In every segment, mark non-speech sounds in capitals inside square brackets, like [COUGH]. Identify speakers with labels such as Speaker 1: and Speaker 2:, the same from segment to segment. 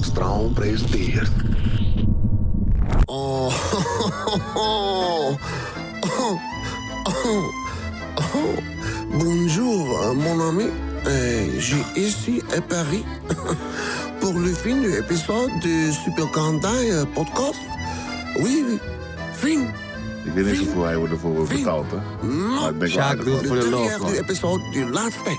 Speaker 1: Straal presenteert.
Speaker 2: Oh, [LAUGHS] oh, oh, oh, oh. Bonjour, euh, mon ami. Euh, J'ai ici à Paris [LAUGHS] pour le fin de l'épisode de Super Gandai euh, Podcast. Oui, oui. Fin.
Speaker 3: Ik weet niet hoeveel hij wordt ervoor wordt betaald, hè? Maar
Speaker 2: Non.
Speaker 3: ik ben
Speaker 4: Sjaak
Speaker 3: klaar
Speaker 4: doet-
Speaker 3: ervan.
Speaker 4: voor de
Speaker 2: dernière
Speaker 4: logo.
Speaker 2: du épisode du laatste.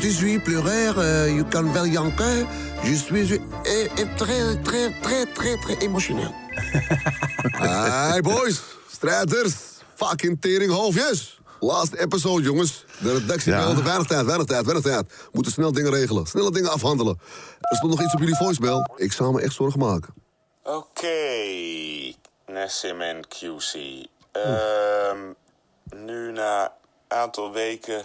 Speaker 2: Je suis pleureur, euh, you can well yanker. Je suis euh, euh, très, très, très, très, très émotionnel. hey boys, strijders, fucking teringhoofdjes. Last episode, jongens. De redactie
Speaker 3: Ja.
Speaker 2: belde weinig tijd, weinig tijd, weinig tijd. We Moeten snel dingen regelen, snelle dingen afhandelen. Er stond nog iets op jullie voicemail. Ik zou me echt zorgen maken.
Speaker 5: Oké, Nessim en QC. Ehm, nu na een aantal weken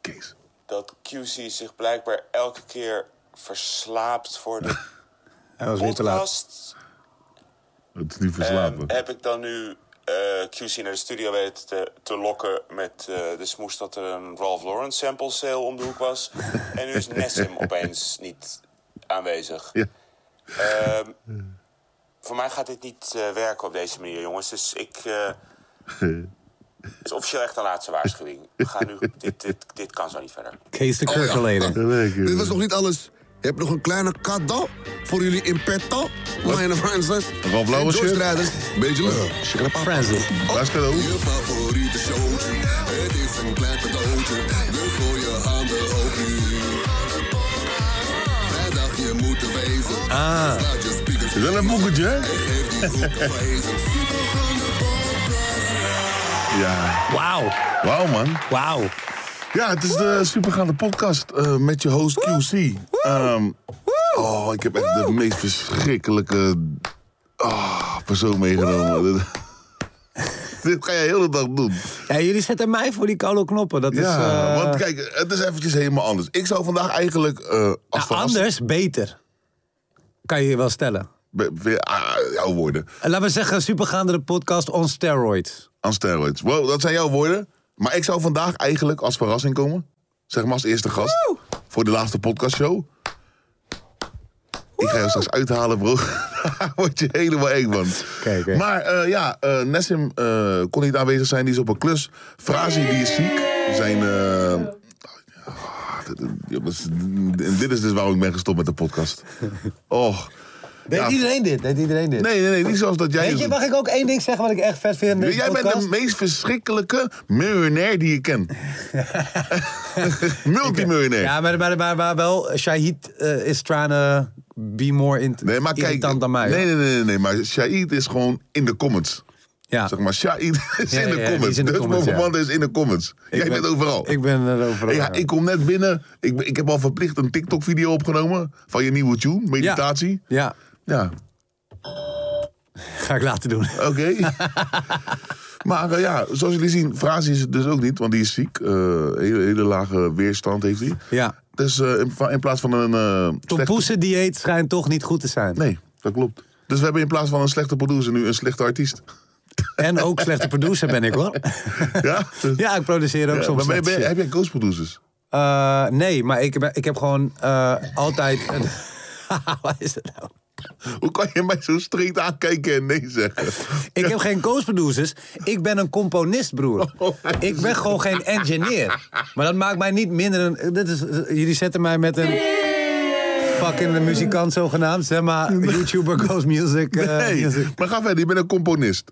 Speaker 3: Kees.
Speaker 5: dat QC zich blijkbaar elke keer verslaapt voor de
Speaker 4: [LAUGHS] Hij was weer te laat.
Speaker 5: podcast...
Speaker 3: Het is niet
Speaker 5: ehm,
Speaker 2: eh.
Speaker 3: verslapen.
Speaker 5: heb ik dan nu eh, QC naar de studio weten te, te lokken met eh, de smoes dat er een Ralph Lauren sample sale om de hoek was. en nu is Nessim opeens niet aanwezig.
Speaker 3: Ja.
Speaker 5: Ehm, voor mij gaat dit niet eh, werken op deze manier, jongens. Dus ik. eh, het is officieel echt een laatste waarschuwing. We gaan nu. Dit, dit, dit kan zo niet verder.
Speaker 4: Kees
Speaker 3: Oh,
Speaker 4: de
Speaker 3: [LAUGHS]
Speaker 4: Kurkeleden.
Speaker 3: Leuk,
Speaker 2: Dit was
Speaker 3: joh.
Speaker 2: nog niet alles. Je hebt nog een kleine cadeau voor jullie in petto. Mijn Francis.
Speaker 3: Wat blauwe
Speaker 2: En Joyce
Speaker 3: shirt?
Speaker 2: Rijders. Beetje leuk.
Speaker 4: Francis.
Speaker 3: Waar is het cadeau?
Speaker 2: Eh, oh. Je favoriete showtje. Het is een klein cadeautje. Dus gooi je handen ook nu. Vrijdag je moet er wezen.
Speaker 4: Ah.
Speaker 2: Sluit je speakers.
Speaker 3: Is dat een boekertje? hè?
Speaker 2: Geef die groep een wezen.
Speaker 3: [LAUGHS] Ja.
Speaker 4: Wauw,
Speaker 3: Wauw, man.
Speaker 4: wauw.
Speaker 3: Ja, het is de supergaande podcast eh, met je host QC. Ehm, oh, ik heb echt de meest verschrikkelijke ah, persoon meegenomen. Dit- [LAUGHS] Dit ga jij de hele dag doen.
Speaker 4: Ja, jullie zetten mij voor die koude knoppen. Dat is...
Speaker 3: ja,
Speaker 4: eh,
Speaker 3: want kijk, het is eventjes helemaal anders. Ik zou vandaag eigenlijk... eh, als
Speaker 4: nou,
Speaker 3: verrassing-
Speaker 4: anders, beter. Kan je je wel stellen.
Speaker 3: Be- weer, ah, jouw woorden.
Speaker 4: En laten we zeggen, supergaandere podcast on steroids.
Speaker 3: Aan steroids. Wow, dat zijn jouw woorden. Maar ik zou vandaag eigenlijk als verrassing komen. Zeg maar als eerste gast. Voor de laatste podcastshow. Ik ga jou straks uithalen, bro. [LAUGHS] Daar word je helemaal eng van.
Speaker 4: Kijk, hè.
Speaker 3: Maar eh, ja, eh, Nessim eh, kon niet aanwezig zijn. Die is op een klus. Frazi, die is ziek. Zijn... eh, ah, dit- jongens, dit is dus waarom ik ben gestopt met de
Speaker 4: [LAUGHS]
Speaker 3: podcast. Oh.
Speaker 4: Deed
Speaker 3: Ja,
Speaker 4: iedereen dit? Deed iedereen dit?
Speaker 3: Nee, nee, nee. Niet zoals dat jij...
Speaker 4: Weet je, mag ik ook één ding zeggen wat ik echt vet vind in deze
Speaker 3: Jij bent de
Speaker 4: podcast?
Speaker 3: meest verschrikkelijke miljonair die je kent.
Speaker 4: [LAUGHS]
Speaker 3: Multimiljonair.
Speaker 4: Ja, maar, maar, maar, maar wel, Shahid eh, is trying to be more int
Speaker 3: Nee, maar kijk.
Speaker 4: irritant dan mij.
Speaker 3: Nee,
Speaker 4: hoor.
Speaker 3: nee, nee, nee, nee. Maar Shaid is gewoon in de comments.
Speaker 4: ja.
Speaker 3: Zeg maar, Shaid is,
Speaker 4: Ja,
Speaker 3: in
Speaker 4: ja,
Speaker 3: de
Speaker 4: die
Speaker 3: comments.
Speaker 4: is in de
Speaker 3: Dutch
Speaker 4: comments, ja.
Speaker 3: Moverband is in de comments. Jij
Speaker 4: ben-
Speaker 3: bent overal.
Speaker 4: Ik ben er overal.
Speaker 3: ja, ik kom net binnen. Ik, ben- ik heb al verplicht een TikTok-video opgenomen van je nieuwe tune, meditatie.
Speaker 4: Ja,
Speaker 3: Ja,
Speaker 4: ga ik laten doen.
Speaker 3: oké.
Speaker 4: [LAUGHS]
Speaker 3: maar eh, ja, zoals jullie zien, Frazi is het dus ook niet, want die is ziek. Eh, hele, hele lage weerstand heeft hij.
Speaker 4: Ja.
Speaker 3: Dus eh, in, va- in plaats van een. eh,
Speaker 4: Tom
Speaker 3: slechte-
Speaker 4: Poesen dieet schijnt toch niet goed te zijn.
Speaker 3: Nee, dat klopt. Dus we hebben in plaats van een slechte producer nu een slechte artiest.
Speaker 4: En ook slechte producer ben ik hoor.
Speaker 3: Ja?
Speaker 4: Ja, ik produceer ook
Speaker 3: Ja,
Speaker 4: soms
Speaker 3: maar ben je-
Speaker 4: slechte
Speaker 3: ben je-
Speaker 4: shit.
Speaker 3: heb jij co-producers?
Speaker 4: Eh, nee, maar ik, ben- ik heb gewoon eh, altijd... Een... [LAUGHS] Wat is het nou?
Speaker 3: Hoe kan je mij zo strikt aankijken en nee
Speaker 4: [LAUGHS]
Speaker 3: zeggen?
Speaker 4: Ik heb geen co-producers. Ik ben een componist, broer.
Speaker 3: Oh,
Speaker 4: ik ben gewoon geen engineer. Maar dat maakt mij niet minder een... Dit is, jullie zetten mij met een... Fucking muzikant zogenaamd, zeg maar. YouTuber goes music. eh,
Speaker 3: Nee,
Speaker 4: music.
Speaker 3: maar ga verder, je bent een componist.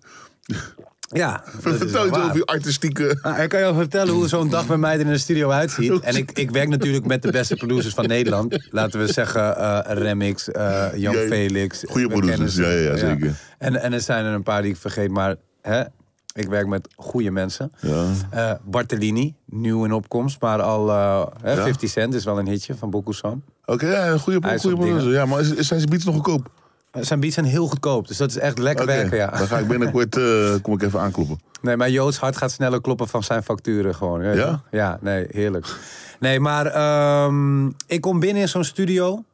Speaker 4: Ja, dat is
Speaker 3: Vertel
Speaker 4: wel
Speaker 3: eens
Speaker 4: waar.
Speaker 3: over je artistieke...
Speaker 4: Nou, ik kan jou vertellen hoe zo'n dag bij mij er in de studio uitziet. En ik, ik werk natuurlijk met de beste producers van Nederland. Laten we zeggen eh, Remix, eh Jan
Speaker 3: Jij-
Speaker 4: Felix.
Speaker 3: goeie
Speaker 4: We
Speaker 3: producers,
Speaker 4: kennen ze.
Speaker 3: ja, ja, zeker.
Speaker 4: En, en er zijn er een paar die ik vergeet, maar hè, ik werk met goede mensen. Eh, Bartellini, nieuw in opkomst, maar al eh, hè,
Speaker 3: Ja.
Speaker 4: 50 Cent is wel een hitje van Bokusan.
Speaker 3: Oké, ja, een goede, goede
Speaker 4: Hij is op dingen.
Speaker 3: producer. Ja, maar is- is- zijn zijn beats nog goedkoop?
Speaker 4: Zijn beats zijn heel goedkoop, dus dat is echt lekker
Speaker 3: Oké,
Speaker 4: werken, ja.
Speaker 3: dan ga ik binnenkort eh, kom ik even aankloppen.
Speaker 4: Nee, maar Joods hart gaat sneller kloppen van zijn facturen gewoon. weet je
Speaker 3: Ja?
Speaker 4: wel. Ja, nee, heerlijk. Nee, maar ehm, ik kom binnen in zo'n studio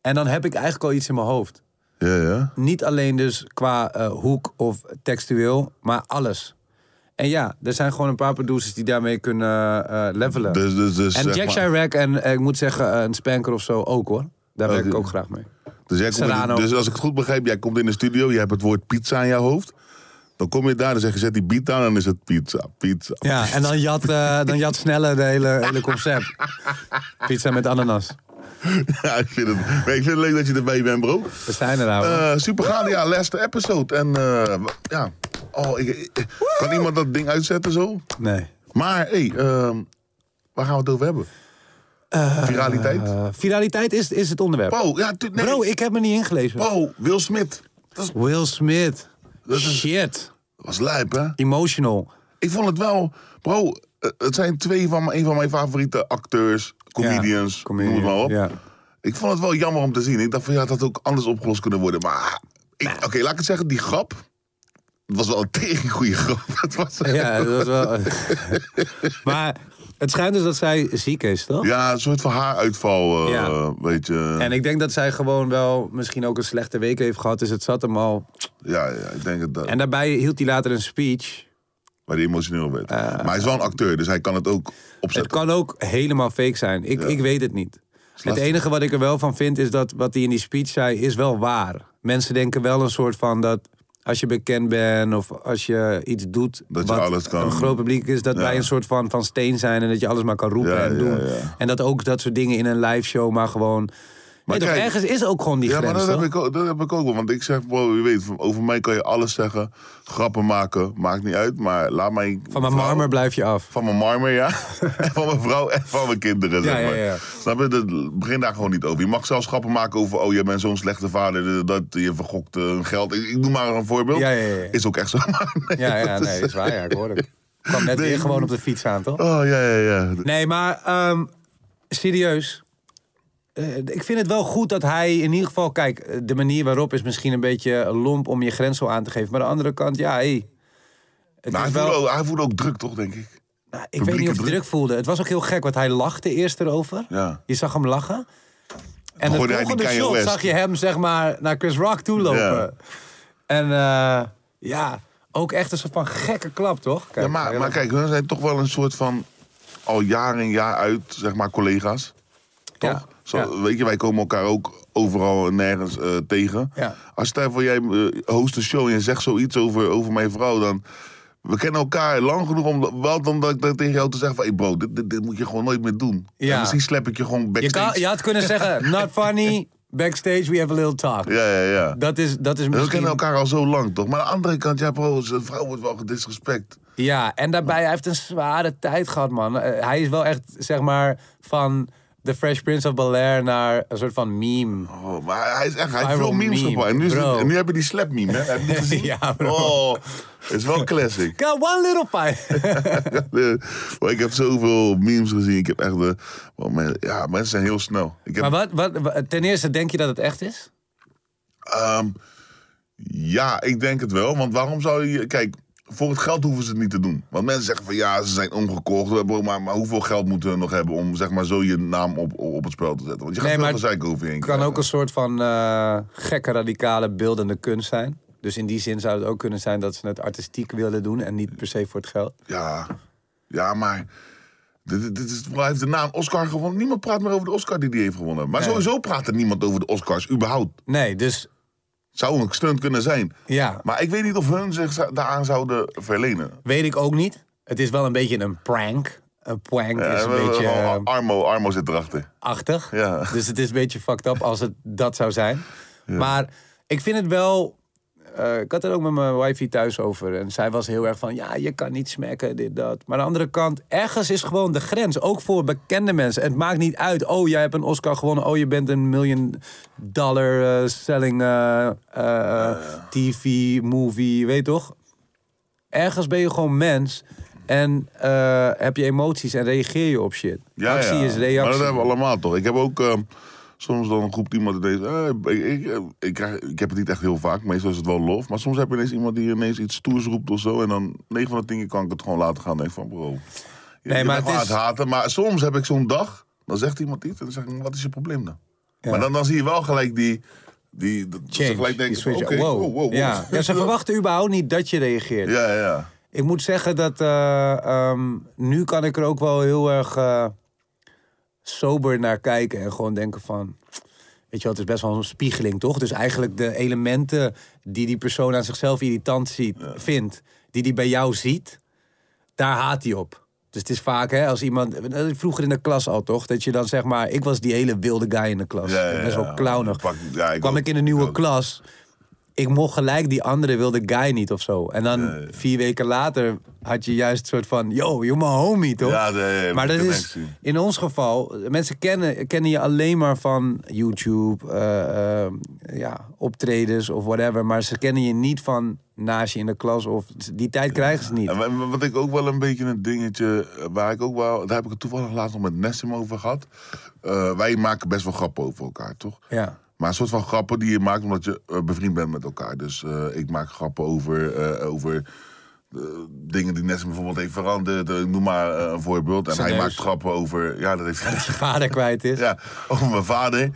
Speaker 4: en dan heb ik eigenlijk al iets in mijn hoofd.
Speaker 3: Ja, ja.
Speaker 4: Niet alleen dus qua eh, hoek of textueel, maar alles. En ja, er zijn gewoon een paar producers die daarmee kunnen eh, eh, levelen.
Speaker 3: Dus, dus, dus,
Speaker 4: en
Speaker 3: zeg
Speaker 4: Jack
Speaker 3: maar-
Speaker 4: Chirac en eh, ik moet zeggen eh, een Spanker of zo ook hoor. Daar werk ik
Speaker 3: Oh, die-
Speaker 4: ook graag mee.
Speaker 3: Dus, jij komt
Speaker 4: Serrano.
Speaker 3: in- dus als ik het goed begrijp, jij komt in de studio, je hebt het woord pizza aan je hoofd. Dan kom je daar en zeg je zet die beat aan en dan is het pizza, pizza.
Speaker 4: Ja, en dan jat, eh dan jat sneller de hele, hele concept. [LAUGHS] Pizza met ananas.
Speaker 3: [LAUGHS] Ja, ik, vind het, maar ik vind het leuk dat je erbij bent, bro.
Speaker 4: We zijn er nou. hoor.
Speaker 3: Eh super gaande, ja, laatste episode. En eh, ja, oh, ik, ik- kan iemand dat ding uitzetten zo?
Speaker 4: nee.
Speaker 3: Maar hey, ehm, waar gaan we het over hebben? Viraliteit?
Speaker 4: Eh, viraliteit is, is het onderwerp.
Speaker 3: Wow, ja, tu- nee.
Speaker 4: Bro, ik heb me niet ingelezen.
Speaker 3: Wow, Will Smith. Dat
Speaker 4: Will Smith.
Speaker 3: Dat is-
Speaker 4: Shit.
Speaker 3: was lijp, hè?
Speaker 4: Emotional.
Speaker 3: Ik vond het wel, bro, eh, het zijn twee van, mijn- een van mijn favoriete acteurs, comedians,
Speaker 4: Ja,
Speaker 3: noem het maar op.
Speaker 4: Ja.
Speaker 3: Ik vond het wel jammer om te zien. Ik dacht van ja, het had ook anders opgelost kunnen worden. Maar ik- oké, laat ik het zeggen, die grap het was wel een [LAUGHS] tegen goede grap. Het was, [LAUGHS]
Speaker 4: ja, dat was wel... maar het schijnt dus dat zij ziek is, toch?
Speaker 3: Ja, een soort van haaruitval, eh
Speaker 4: Ja.
Speaker 3: weet je.
Speaker 4: En ik denk dat zij gewoon wel misschien ook een slechte week heeft gehad. Dus het zat hem al.
Speaker 3: Ja, ja, ik denk het dat.
Speaker 4: En daarbij hield hij later een speech.
Speaker 3: Waar hij emotioneel werd.
Speaker 4: Eh,
Speaker 3: maar hij is wel een acteur, dus hij kan het ook
Speaker 4: Het
Speaker 3: opzetten.
Speaker 4: kan ook helemaal fake zijn. Ik, ik weet het niet. Het enige wat ik er wel van vind is dat wat hij in die speech zei is wel waar. Mensen denken wel een soort van dat als je bekend bent of als je iets doet
Speaker 3: Dat je
Speaker 4: wat
Speaker 3: alles kan.
Speaker 4: een groot publiek is, dat wij een soort van, van steen zijn en dat je alles maar kan roepen
Speaker 3: Ja,
Speaker 4: en
Speaker 3: ja,
Speaker 4: doen.
Speaker 3: ja.
Speaker 4: En dat ook dat soort dingen in een live show maar gewoon. Maar
Speaker 3: kijk-
Speaker 4: ergens is ook gewoon die
Speaker 3: Ja,
Speaker 4: grens.
Speaker 3: maar dat
Speaker 4: toch?
Speaker 3: heb, ik ook, dat heb ik ook wel. Want ik zeg, bro, je weet, van- over mij kan je alles zeggen. Grappen maken, maakt niet uit. Maar laat mij...
Speaker 4: Van mijn
Speaker 3: vrouw-
Speaker 4: marmer blijf je af.
Speaker 3: Van mijn marmer,
Speaker 4: [LAUGHS]
Speaker 3: ja. en van mijn vrouw en van mijn kinderen, zeg
Speaker 4: ja,
Speaker 3: maar.
Speaker 4: ja.
Speaker 3: Snap je? Dat begin daar gewoon niet over. Je mag zelfs grappen maken over... oh, je bent zo'n slechte vader, dat je vergokt eh, geld. Ik, ik noem maar een voorbeeld.
Speaker 4: Ja, ja, ja.
Speaker 3: Is ook echt zo. [LAUGHS] maar nee,
Speaker 4: Ja, ja,
Speaker 3: dat is- [LAUGHS]
Speaker 4: nee, dat is waar. Ja, ik hoor het. Ik kwam net
Speaker 3: Nee.
Speaker 4: weer gewoon op de fiets aan, toch?
Speaker 3: Oh, ja, ja, ja.
Speaker 4: Nee, maar ehm, serieus. Eh, ik vind het wel goed dat hij in ieder geval... Kijk, eh, de manier waarop is misschien een beetje lomp om je grens zo aan te geven. Maar aan de andere kant, ja, hé. Het
Speaker 3: Maar
Speaker 4: is
Speaker 3: hij
Speaker 4: wel,
Speaker 3: voelde, ook, hij voelde ook druk, toch, denk ik?
Speaker 4: Nou, ik weet niet of hij
Speaker 3: publieke
Speaker 4: druk voelde. Het was ook heel gek, want hij lachte eerst erover.
Speaker 3: Ja.
Speaker 4: Je zag hem lachen. En
Speaker 3: Gooide
Speaker 4: de
Speaker 3: hij die
Speaker 4: volgende
Speaker 3: Kanye
Speaker 4: shot
Speaker 3: West.
Speaker 4: zag je hem, zeg maar, naar Chris Rock toe lopen.
Speaker 3: Ja.
Speaker 4: En eh, ja, ook echt een soort van gekke klap, toch? Kijk,
Speaker 3: Ja, maar, maar kijk, hun zijn toch wel een soort van al jaar in jaar uit, zeg maar, collega's. Toch?
Speaker 4: Ja,
Speaker 3: Zo,
Speaker 4: ja.
Speaker 3: Weet je, wij komen elkaar ook overal en nergens eh, tegen.
Speaker 4: Ja.
Speaker 3: Als stel voor jij eh, host een show en je zegt zoiets over, over mijn vrouw, dan. We kennen elkaar lang genoeg om wel dan dat ik dat tegen jou te zeggen van... Hey bro, dit, dit, dit moet je gewoon nooit meer doen.
Speaker 4: Ja.
Speaker 3: En misschien slap ik je gewoon
Speaker 4: je,
Speaker 3: backstage.
Speaker 4: kan, je had kunnen
Speaker 3: [LAUGHS]
Speaker 4: zeggen, not funny, backstage we have a little talk.
Speaker 3: Ja, ja, ja.
Speaker 4: Dat is, dat is
Speaker 3: We
Speaker 4: misschien...
Speaker 3: kennen elkaar al zo lang, toch? Maar aan de andere kant, ja bro, zijn vrouw wordt wel gedisrespect.
Speaker 4: Ja, en daarbij, hij heeft een zware tijd gehad, man. Eh, hij is wel echt, zeg maar, van The Fresh Prince of Bel-Air naar een soort van meme.
Speaker 3: Oh, maar hij is echt, hij heeft
Speaker 4: Viral
Speaker 3: veel memes
Speaker 4: meme,
Speaker 3: gemaakt. En nu, is het-
Speaker 4: bro.
Speaker 3: en nu heb je die slap meme, hè? Heb je die
Speaker 4: [LAUGHS]
Speaker 3: gezien?
Speaker 4: Ja, bro.
Speaker 3: Oh, is wel classic.
Speaker 4: Got one little pie.
Speaker 3: [LAUGHS] maar ik heb zoveel memes gezien. Ik heb echt de... oh, men- ja, mensen zijn heel snel. Ik heb,
Speaker 4: [LAUGHS] maar wat, wat, wat- ten eerste, denk je dat het echt is?
Speaker 3: ehm, ja, ik denk het wel. Want waarom zou je... Kijk, voor het geld hoeven ze het niet te doen. Want mensen zeggen van ja, ze zijn omgekocht. Bro, maar, maar hoeveel geld moeten we nog hebben om zeg maar, zo je naam op, op het spel te zetten? Want je gaat
Speaker 4: Nee,
Speaker 3: veel
Speaker 4: maar
Speaker 3: gezeik over je heen
Speaker 4: Het kan
Speaker 3: krijgen.
Speaker 4: ook een soort van eh, gekke, radicale, beeldende kunst zijn. Dus in die zin zou het ook kunnen zijn dat ze het artistiek wilden doen en niet per se voor het geld.
Speaker 3: Ja, ja maar. Dit, dit- dit is, hij heeft de naam Oscar gewonnen. Niemand praat meer over de Oscar die hij heeft gewonnen. Maar
Speaker 4: Nee.
Speaker 3: sowieso praat er niemand over de Oscars, überhaupt.
Speaker 4: Nee, dus
Speaker 3: Zou een stunt kunnen zijn.
Speaker 4: ja,
Speaker 3: Maar ik weet niet of hun zich za- daaraan zouden verlenen.
Speaker 4: weet ik ook niet. Het is wel een beetje een prank. Een prank
Speaker 3: Ja,
Speaker 4: is een
Speaker 3: we- we-
Speaker 4: beetje... eh,
Speaker 3: gewoon Armo, Armo zit erachter.
Speaker 4: achtig.
Speaker 3: Ja.
Speaker 4: Dus het is een beetje fucked up als het dat zou zijn. Maar ik vind het wel. eh, ik had het ook met mijn wifi thuis over. En zij was heel erg van, ja, je kan niet smekken, dit, dat. Maar aan de andere kant, ergens is gewoon de grens. Ook voor bekende mensen. Het maakt niet uit, oh, jij hebt een Oscar gewonnen. Oh, je bent een million dollar eh, selling eh, eh, TV, movie, je weet toch? ergens ben je gewoon mens. En eh, heb je emoties en reageer je op shit.
Speaker 3: Ja,
Speaker 4: Actie
Speaker 3: ja.
Speaker 4: is
Speaker 3: Maar
Speaker 4: reactie.
Speaker 3: dat hebben we allemaal toch. Ik heb ook ehm, soms dan een groep iemand die denkt... eh, ik, ik, ik, krijg- ik heb het niet echt heel vaak. Meestal is het wel lof. Maar soms heb je ineens iemand die ineens iets stoers roept of zo. En dan 9 van de 10 keer kan ik het gewoon laten gaan. En denk van bro, je, nee, maar
Speaker 4: maar
Speaker 3: het
Speaker 4: het
Speaker 3: is...
Speaker 4: is-
Speaker 3: haten. Maar soms heb ik zo'n dag, dan zegt iemand iets. En dan zeg ik, wat is je probleem dan? Maar dan, dan zie je wel gelijk die... die dat ze
Speaker 4: Change,
Speaker 3: gelijk
Speaker 4: die
Speaker 3: denken van,
Speaker 4: switch.
Speaker 3: oké, wow, wow, wow.
Speaker 4: Ja.
Speaker 3: [LAUGHS]
Speaker 4: ja, ze verwachten überhaupt niet dat je reageert.
Speaker 3: Ja, ja.
Speaker 4: Ik moet zeggen dat eh, ehm, nu kan ik er ook wel heel erg eh, sober naar kijken. En gewoon denken van... Weet je wel, het is best wel een spiegeling, toch? Dus eigenlijk de elementen die die persoon aan zichzelf irritant ziet, vindt, die die bij jou ziet, daar haat hij op. Dus het is vaak, hè, als iemand... dat is Vroeger in de klas al, toch? Dat je dan zeg maar... Ik was die hele wilde guy in de klas.
Speaker 3: Ja, ja,
Speaker 4: best wel
Speaker 3: ja.
Speaker 4: clownig.
Speaker 3: Pak- ja, ik
Speaker 4: Kwam
Speaker 3: ook.
Speaker 4: ik in een nieuwe
Speaker 3: Ik ook.
Speaker 4: klas. Ik mocht gelijk die andere wilde guy niet of zo. En dan vier weken later had je juist een soort van... Yo, you're my homie, toch?
Speaker 3: Ja, nee, nee,
Speaker 4: maar dat is
Speaker 3: connectie.
Speaker 4: in ons geval, mensen kennen, kennen je alleen maar van YouTube, eh, eh, ja, optredens of whatever. Maar ze kennen je niet van naast je in de klas of die tijd krijgen ze niet.
Speaker 3: En wa- wa- wat ik ook wel een beetje een dingetje, eh, waar ik ook wel, daar heb ik het toevallig laatst nog met Nessim over gehad. Eh, wij maken best wel grappen over elkaar, toch?
Speaker 4: Ja.
Speaker 3: Maar een soort van grappen die je maakt omdat je eh, bevriend bent met elkaar. Dus eh, ik maak grappen over, eh, over eh, dingen die Nessim bijvoorbeeld heeft veranderd. Eh, ik noem maar eh, een voorbeeld. En
Speaker 4: Zijn
Speaker 3: hij
Speaker 4: neus.
Speaker 3: maakt grappen over, ja, dat heeft
Speaker 4: Je vader kwijt
Speaker 3: [LAUGHS]
Speaker 4: is.
Speaker 3: ja, over mijn vader.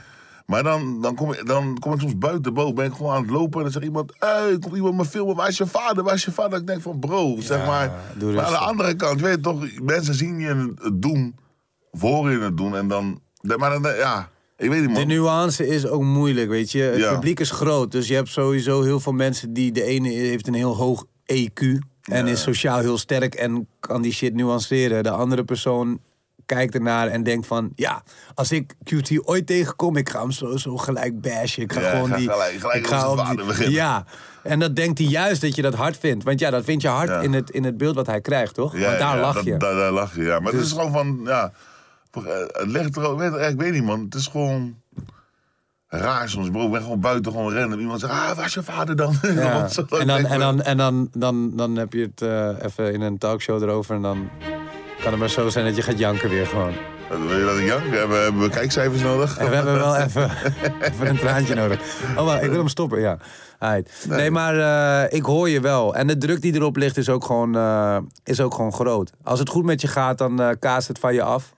Speaker 3: Maar dan, dan, kom ik, dan kom ik soms buiten boven, ben ik gewoon aan het lopen en dan zegt iemand, hey, komt iemand me filmen, waar is je vader, waar is je vader? Ik denk van bro, zeg maar.
Speaker 4: doe
Speaker 3: Maar aan de
Speaker 4: rustig.
Speaker 3: andere kant, je weet toch, mensen zien je in het doen, voor je het doen en dan, maar dan, ja, ik weet niet man.
Speaker 4: De nuance is ook moeilijk, weet je. Het
Speaker 3: Ja.
Speaker 4: publiek is groot, dus je hebt sowieso heel veel mensen die... De ene heeft een heel hoog EQ en is sociaal heel sterk en kan die shit nuanceren. De andere persoon kijkt ernaar en denkt van... Ja, als ik QT ooit tegenkom, ik ga hem sowieso gelijk bashen. Ik ga
Speaker 3: Ja, ik
Speaker 4: gewoon
Speaker 3: ga
Speaker 4: die...
Speaker 3: gelijk- gelijk
Speaker 4: ik
Speaker 3: als een
Speaker 4: op die-
Speaker 3: vader beginnen.
Speaker 4: Ja, en dat denkt hij juist dat je dat hard vindt. Want ja, dat vind je hard
Speaker 3: Ja.
Speaker 4: in, het, in het beeld wat hij krijgt, toch?
Speaker 3: Ja,
Speaker 4: Want daar
Speaker 3: ja,
Speaker 4: lach
Speaker 3: dat-
Speaker 4: je. Dus-
Speaker 3: Daar, daar lach je, ja. Maar het is gewoon van, ja, eh, het ligt er ook, weet- ik weet niet man, het is gewoon... Raar soms, bro. Ik ben gewoon buiten gewoon rennen. En iemand zegt, ah, waar is je vader dan? [LAUGHS]
Speaker 4: Ja.
Speaker 3: Want zo-
Speaker 4: En, dan,
Speaker 3: denk
Speaker 4: en,
Speaker 3: ik,
Speaker 4: dan, en dan, dan, dan heb je het eh, even in een talkshow erover en dan kan het maar zo zijn dat je gaat janken weer gewoon.
Speaker 3: Wil je dat ik jank? Hebben, hebben we kijkcijfers nodig?
Speaker 4: En we hebben wel even, even een traantje nodig. Oh, maar ik wil hem stoppen, ja. Alright. Nee, maar eh, ik hoor je wel. En de druk die erop ligt is ook, gewoon, eh, is ook gewoon groot. Als het goed met je gaat, dan eh kaast het van je af.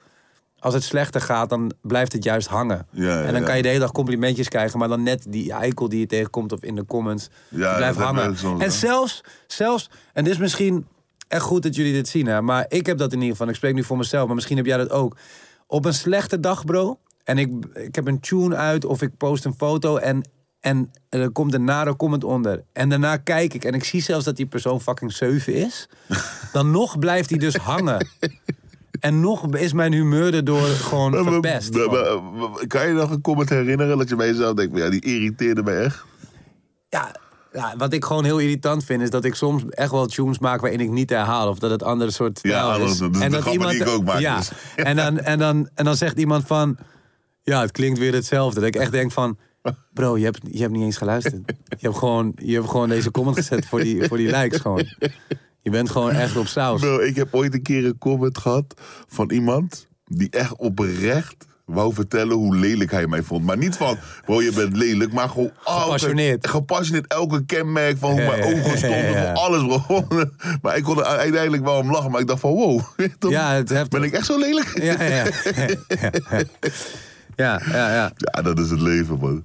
Speaker 4: Als het slechter gaat, dan blijft het juist hangen.
Speaker 3: Ja, ja,
Speaker 4: en dan
Speaker 3: ja.
Speaker 4: kan je de hele dag complimentjes krijgen, maar dan net die eikel die je tegenkomt of in de comments,
Speaker 3: Ja,
Speaker 4: die blijft
Speaker 3: dat heb ik
Speaker 4: hangen.
Speaker 3: ook soms,
Speaker 4: en
Speaker 3: hè.
Speaker 4: zelfs, zelfs, en dit is misschien echt goed dat jullie dit zien, hè, maar ik heb dat in ieder geval. Ik spreek nu voor mezelf, maar misschien heb jij dat ook. Op een slechte dag, bro, en ik, ik heb een tune uit of ik post een foto en, en er komt een nare comment onder. En daarna kijk ik en ik zie zelfs dat die persoon fucking 7
Speaker 3: [LAUGHS]
Speaker 4: is. dan nog blijft die dus hangen. En nog is mijn humeur erdoor gewoon
Speaker 3: Maar- maar-
Speaker 4: verpest.
Speaker 3: maar-
Speaker 4: gewoon.
Speaker 3: maar- maar- Kan je nog een comment herinneren dat je bij jezelf denkt, ja, die irriteerde mij echt?
Speaker 4: Ja, ja, wat ik gewoon heel irritant vind, is dat ik soms echt wel tunes maak waarin ik niet herhaal. Of dat het andere soort
Speaker 3: Ja,
Speaker 4: taal
Speaker 3: andere-
Speaker 4: is.
Speaker 3: dat is de grap die ik ook maak,
Speaker 4: Ja,
Speaker 3: dus. [LAUGHS]
Speaker 4: en, dan, en, dan, en dan zegt iemand van... Ja, het klinkt weer hetzelfde. Dat ik echt denk van... Bro, je hebt, je hebt niet eens geluisterd. Je hebt gewoon, je hebt gewoon deze comment gezet voor die, voor die likes gewoon. Je bent gewoon echt op saus.
Speaker 3: Bro, ik heb ooit een keer een comment gehad van iemand die echt oprecht wou vertellen hoe lelijk hij mij vond. Maar niet van, bro, je bent lelijk, maar gewoon altijd-
Speaker 4: Gepassioneerd.
Speaker 3: gepassioneerd, elke kenmerk van hoe
Speaker 4: Ja,
Speaker 3: mijn
Speaker 4: ja,
Speaker 3: ogen stonden,
Speaker 4: ja, ja.
Speaker 3: van alles, bro. [LAUGHS] Maar ik kon er uiteindelijk wel om lachen, maar ik dacht van, wow, [LAUGHS]
Speaker 4: Ja, het heftig.
Speaker 3: ben ik echt zo lelijk? [LAUGHS]
Speaker 4: Ja, ja, ja. Ja, ja, ja.
Speaker 3: Ja, dat is het leven, man.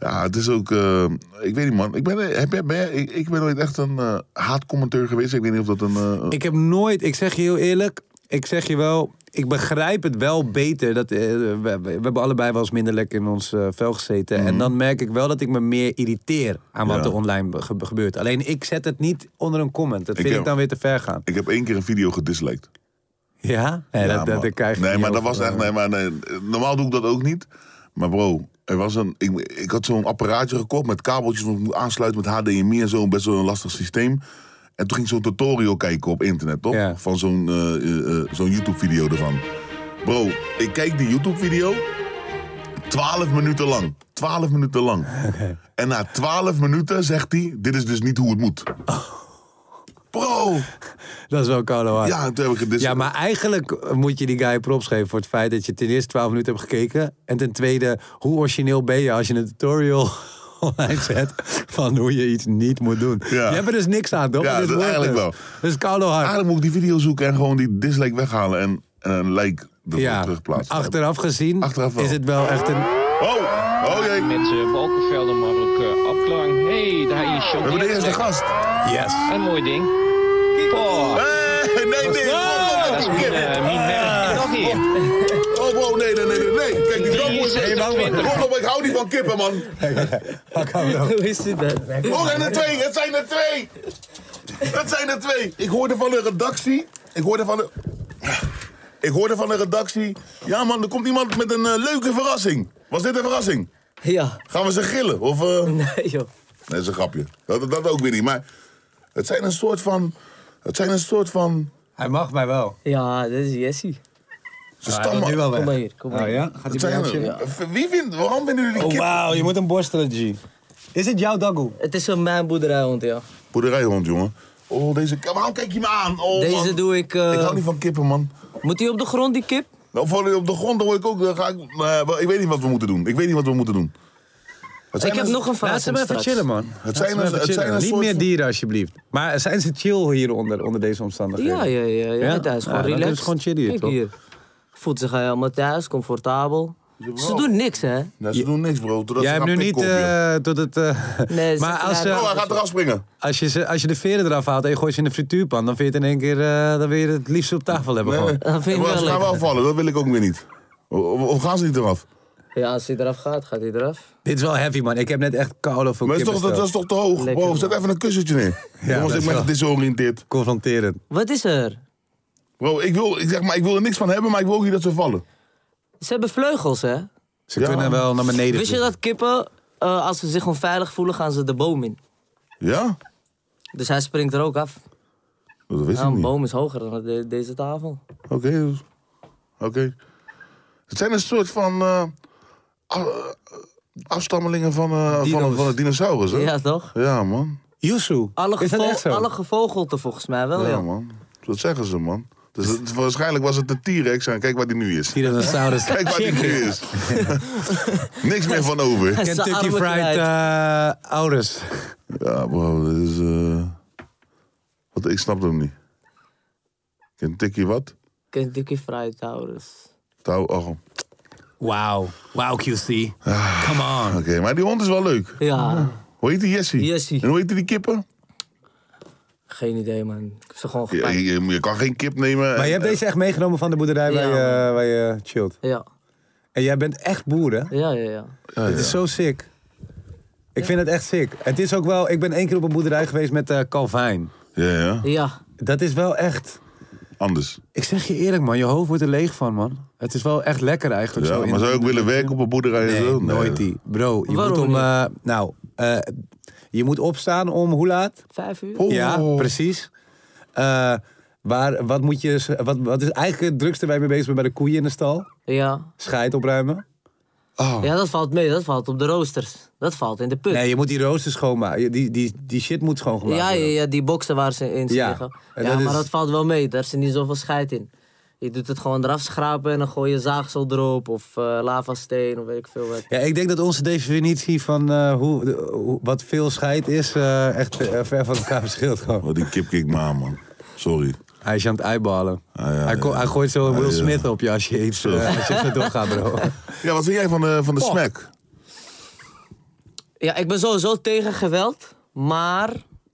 Speaker 3: Ja, het is ook... eh, ik weet niet, man. Ik ben, eh, heb, jij- ben, jij- ik, ik ben nooit echt een eh, haatcommentator geweest. Ik weet niet of dat een... eh,
Speaker 4: Ik heb nooit, ik zeg je heel eerlijk, ik zeg je wel, ik begrijp het wel beter. Dat, eh, we, we- we hebben allebei wel eens minder lekker in ons eh, vel gezeten. En dan merk ik wel dat ik me meer irriteer aan wat
Speaker 3: Mhm. Ja.
Speaker 4: er online ge- gebeurt. Alleen ik zet het niet onder een comment. Dat
Speaker 3: Ik
Speaker 4: vind ik,
Speaker 3: heb-
Speaker 4: dan weer te ver gaan.
Speaker 3: ik heb één keer een video gedisliked.
Speaker 4: Ja? Nee,
Speaker 3: Ja,
Speaker 4: dat, dat,
Speaker 3: man.
Speaker 4: dat krijg je
Speaker 3: Nee,
Speaker 4: niet
Speaker 3: maar dat
Speaker 4: over,
Speaker 3: was echt...
Speaker 4: eh.
Speaker 3: Nee, maar nee, normaal doe ik dat ook niet. Maar bro, er was een... Ik, ik had zo'n apparaatje gekocht met kabeltjes... want ik moet aansluiten met HDMI en zo. Best wel een lastig systeem. En toen ging ik zo'n tutorial kijken op internet, toch?
Speaker 4: Ja.
Speaker 3: Van zo'n eh, eh, eh, zo'n YouTube-video ervan. Bro, ik kijk die YouTube-video... 12 minuten lang. 12 minuten
Speaker 4: [LAUGHS]
Speaker 3: lang. En na 12 minuten zegt hij: Dit is dus niet hoe het moet.
Speaker 4: [LAUGHS]
Speaker 3: Bro!
Speaker 4: Dat is wel koude hard.
Speaker 3: Ja, toen heb ik het dus.
Speaker 4: Ja, maar eigenlijk eh, moet je die guy props geven voor het feit dat je ten eerste 12 minuten hebt gekeken. En ten tweede, hoe origineel ben je als je een tutorial [LAUGHS] online zet van hoe je iets niet moet doen.
Speaker 3: Ja.
Speaker 4: Je hebt er dus niks aan, toch?
Speaker 3: Ja,
Speaker 4: Het
Speaker 3: dat- eigenlijk
Speaker 4: worthless.
Speaker 3: wel.
Speaker 4: Dat is koude hard.
Speaker 3: Eigenlijk moet ik die video zoeken en gewoon die dislike weghalen en, en een like ervoor
Speaker 4: Ja,
Speaker 3: terugplaatsen.
Speaker 4: achteraf gezien
Speaker 3: Achteraf wel.
Speaker 4: is het wel echt een...
Speaker 3: Oh! Oh jee! We
Speaker 1: Met eh Balkenvelder mogelijk eh afklaring. hey, daar is John
Speaker 3: hebben de eerste
Speaker 1: Neertweg.
Speaker 3: gast.
Speaker 4: Yes.
Speaker 1: Een mooi ding. Oh,
Speaker 3: Hey, nee, nee!
Speaker 1: Ja, dat is mijn eh, mijn merk. Dat hier.
Speaker 3: Oh, wow, nee, nee, nee, nee. nee. Kijk, die Rambo is...
Speaker 1: Hey, man, man.
Speaker 3: Rob, ik hou niet van kippen, man.
Speaker 6: Hoe is dit dan?
Speaker 3: Oh, en er twee, het zijn er twee. Het zijn er twee. Ik hoorde van de redactie. Ik hoorde van de. Ik hoorde van de redactie. Ja, man, er komt iemand met een eh, leuke verrassing. Was dit een verrassing?
Speaker 6: Ja.
Speaker 3: Gaan we ze gillen? Of. eh,
Speaker 6: Nee, joh.
Speaker 3: Nee, dat is een grapje. Dat, dat ook weer niet. Maar het zijn een soort van. Het zijn een soort van.
Speaker 4: Hij mag mij wel.
Speaker 6: Ja, dat is Jessie.
Speaker 3: Ze
Speaker 4: Hij wil nu
Speaker 3: stammen.
Speaker 4: wel weg.
Speaker 6: Kom maar hier, kom maar
Speaker 4: Oh
Speaker 6: hier.
Speaker 4: ja? Gaat hij
Speaker 3: Het
Speaker 4: bij
Speaker 3: zijn
Speaker 4: jou
Speaker 3: er-
Speaker 4: chillen?
Speaker 3: Wie vindt, waarom vinden jullie die
Speaker 4: Oh
Speaker 3: kip?
Speaker 4: wauw, je moet hem borstelen, G. Is het jouw daggoe?
Speaker 6: Het is een mijn boerderijhond, ja.
Speaker 3: Boerderijhond, jongen. Oh, deze. Waarom kijk je me aan? Oh,
Speaker 6: Deze
Speaker 3: man.
Speaker 6: doe ik... eh,
Speaker 3: Ik hou niet van kippen, man.
Speaker 6: Moet hij op de grond, die kip?
Speaker 3: Nou, voor op de grond dan hoor ik ook. Dan ga ik, eh, wel, ik weet niet wat we moeten doen. Ik weet niet wat we moeten doen. Het zijn
Speaker 6: Ik heb
Speaker 3: een-
Speaker 6: nog een vraag.
Speaker 4: Laat ze maar even chillen, man. Laat
Speaker 3: zijn
Speaker 4: ze
Speaker 3: een-
Speaker 4: maar even
Speaker 3: het zijn
Speaker 4: chillen.
Speaker 3: een
Speaker 4: Niet
Speaker 3: soort
Speaker 4: meer
Speaker 3: van-
Speaker 4: dieren, alsjeblieft. Maar zijn ze chill hieronder, onder deze omstandigheden?
Speaker 6: Ja, ja, ja. ja, Hij is gewoon
Speaker 4: dat
Speaker 6: relaxed.
Speaker 4: is gewoon chill hier,
Speaker 6: Kijk
Speaker 4: toch?
Speaker 6: hier. Voelt zich helemaal thuis, comfortabel. Ze doen niks, hè?
Speaker 3: Nee, ze doen niks, bro. Totdat
Speaker 4: Jij
Speaker 3: ze
Speaker 4: hebt nu
Speaker 3: gaan
Speaker 4: niet
Speaker 3: pikken op je.
Speaker 4: eh, tot het... eh, [LAUGHS]
Speaker 6: Nee, ze-
Speaker 4: maar als,
Speaker 6: ja,
Speaker 4: eh,
Speaker 3: Oh, hij gaat eraf springen.
Speaker 4: als, je, ze- als je de veren eraf haalt en je gooit ze in de frituurpan... dan vind je het in één keer eh, dan wil je het liefst op tafel hebben. gewoon.
Speaker 6: Dat vind ik
Speaker 3: Maar
Speaker 6: wel
Speaker 3: ze gaan
Speaker 6: lekker.
Speaker 3: wel vallen, dat wil ik ook weer niet. Of, of gaan ze niet eraf?
Speaker 6: Ja, als hij eraf gaat, gaat hij eraf.
Speaker 4: Dit is wel heavy, man. Ik heb net echt koude voor
Speaker 3: Maar dat is, toch, dat,
Speaker 4: kippenvel.
Speaker 3: dat is toch te hoog?
Speaker 6: Lekker,
Speaker 3: Wow, zet
Speaker 6: man.
Speaker 3: even een kussentje neer.
Speaker 4: dat
Speaker 3: Jongens,
Speaker 4: is
Speaker 3: ik ben
Speaker 4: wel-
Speaker 3: gedisoriënteerd.
Speaker 4: Confronterend.
Speaker 6: Wat is er?
Speaker 3: Bro, ik wil, ik, zeg maar, ik wil er niks van hebben, maar ik wil ook niet dat ze vallen.
Speaker 6: Ze hebben vleugels, hè?
Speaker 4: Ze
Speaker 3: Ja.
Speaker 4: kunnen wel naar beneden
Speaker 6: Wist je
Speaker 4: vliegen.
Speaker 6: dat kippen, eh, als ze zich onveilig voelen, gaan ze de boom in?
Speaker 3: Ja?
Speaker 6: Dus hij springt er ook af.
Speaker 3: Dat wist
Speaker 6: Ja,
Speaker 3: ik
Speaker 6: een
Speaker 3: niet. Oké.
Speaker 6: boom is hoger dan de- deze tafel.
Speaker 3: dus- Oké. Het zijn een soort van... eh, af- eh, afstammelingen van, eh, van,
Speaker 4: Dino's.
Speaker 3: van de dinosaurus, hè?
Speaker 6: Ja, toch?
Speaker 3: Ja, man.
Speaker 4: Yuzu,
Speaker 6: Alle,
Speaker 4: is dat
Speaker 6: gevo-
Speaker 4: echt zo?
Speaker 6: alle gevogelte volgens mij wel,
Speaker 3: Ja,
Speaker 6: [LAUGHS] ja.
Speaker 3: man. Dat zeggen ze, man. Dus het- waarschijnlijk was het de T-Rex en kijk waar die nu is. [LAUGHS]
Speaker 4: Tyrannosaurus.
Speaker 3: Kijk waar die
Speaker 4: [LAUGHS]
Speaker 3: nu is. [LAUGHS] Niks meer van over.
Speaker 6: Zijn
Speaker 4: Kentucky
Speaker 6: armen
Speaker 4: Fried
Speaker 6: kwijt.
Speaker 4: eh Ouders.
Speaker 3: Ja, bro, dat is... eh, Wat, ik snap hem niet. Kentucky wat?
Speaker 6: Kentucky Fried dus. Towers.
Speaker 3: Touw, oh. Oké,
Speaker 4: Wauw. Wauw, QC. Come on.
Speaker 3: maar die hond is wel leuk.
Speaker 4: Ah.
Speaker 6: Ja,
Speaker 3: Hoe heet die? Jessie?
Speaker 6: Jessie.
Speaker 3: En hoe heet die kippen?
Speaker 6: geen idee, man. Ik heb ze gewoon
Speaker 3: Je,
Speaker 6: gepakt.
Speaker 3: je, je kan geen kip nemen.
Speaker 4: Maar je hebt deze echt meegenomen van de boerderij waar,
Speaker 6: Ja,
Speaker 4: je, waar je chillt.
Speaker 6: Ja,
Speaker 4: En jij bent echt boer, hè?
Speaker 6: ja, ja. ja.
Speaker 3: Oh, Ja,
Speaker 4: Het
Speaker 3: ja.
Speaker 4: is zo sick. Ik vind het echt sick. Het is ook wel... Ik ben één keer op een boerderij geweest met eh Calvin.
Speaker 3: Ja, ja.
Speaker 6: Ja,
Speaker 4: Dat is wel echt...
Speaker 3: Anders.
Speaker 4: Ik zeg je eerlijk, man. Je hoofd wordt er leeg van, man. Het is wel echt lekker eigenlijk.
Speaker 3: Ja,
Speaker 4: zo in-
Speaker 3: maar zou je ook willen werken op een boerderij
Speaker 4: Nee,
Speaker 3: en zo?
Speaker 4: nooit die. Bro, je
Speaker 6: Waarom
Speaker 4: moet om...
Speaker 6: niet?
Speaker 4: eh, nou, eh, je moet opstaan om hoe laat?
Speaker 6: vijf uur.
Speaker 3: Oh.
Speaker 4: Ja, precies. Eh, waar, wat, moet je, wat, wat is eigenlijk het drukste waar je mee bezig bent bij de koeien in de stal?
Speaker 6: Ja.
Speaker 4: Scheid opruimen.
Speaker 6: ja, dat valt mee. Dat valt op de roosters. Dat valt in de put.
Speaker 4: Oh. Nee, je moet die roosters schoonmaken. Je- Die, die, die shit moet schoongemaakt
Speaker 6: ja, ja,
Speaker 4: worden.
Speaker 6: ja, die boksen waar ze in
Speaker 4: Ja,
Speaker 6: liggen.
Speaker 4: en
Speaker 6: Ja,
Speaker 4: dat
Speaker 6: maar
Speaker 4: is-
Speaker 6: dat valt wel mee. Daar zit niet zoveel scheid in. Je doet het gewoon eraf schrapen en dan gooi je zaagsel erop. Of eh, lavasteen of weet ik veel wat.
Speaker 4: Ja, ik denk dat onze definitie van eh, hoe, de- hoe- wat veel scheid is, eh, echt eh, ver van elkaar [LAUGHS] verschilt gewoon.
Speaker 3: Wat die kip keek me aan, man. Sorry.
Speaker 4: Hij is aan het eyeballen.
Speaker 3: Ah, ja,
Speaker 4: hij, ko-
Speaker 3: ja.
Speaker 4: hij gooit zo
Speaker 3: Ah,
Speaker 4: Will
Speaker 3: ja.
Speaker 4: Smith op je als je iets eh, als je zo doorgaat, bro.
Speaker 3: Ja, wat vind jij van de, van de smack?
Speaker 6: Ja, ik ben sowieso tegen geweld. Maar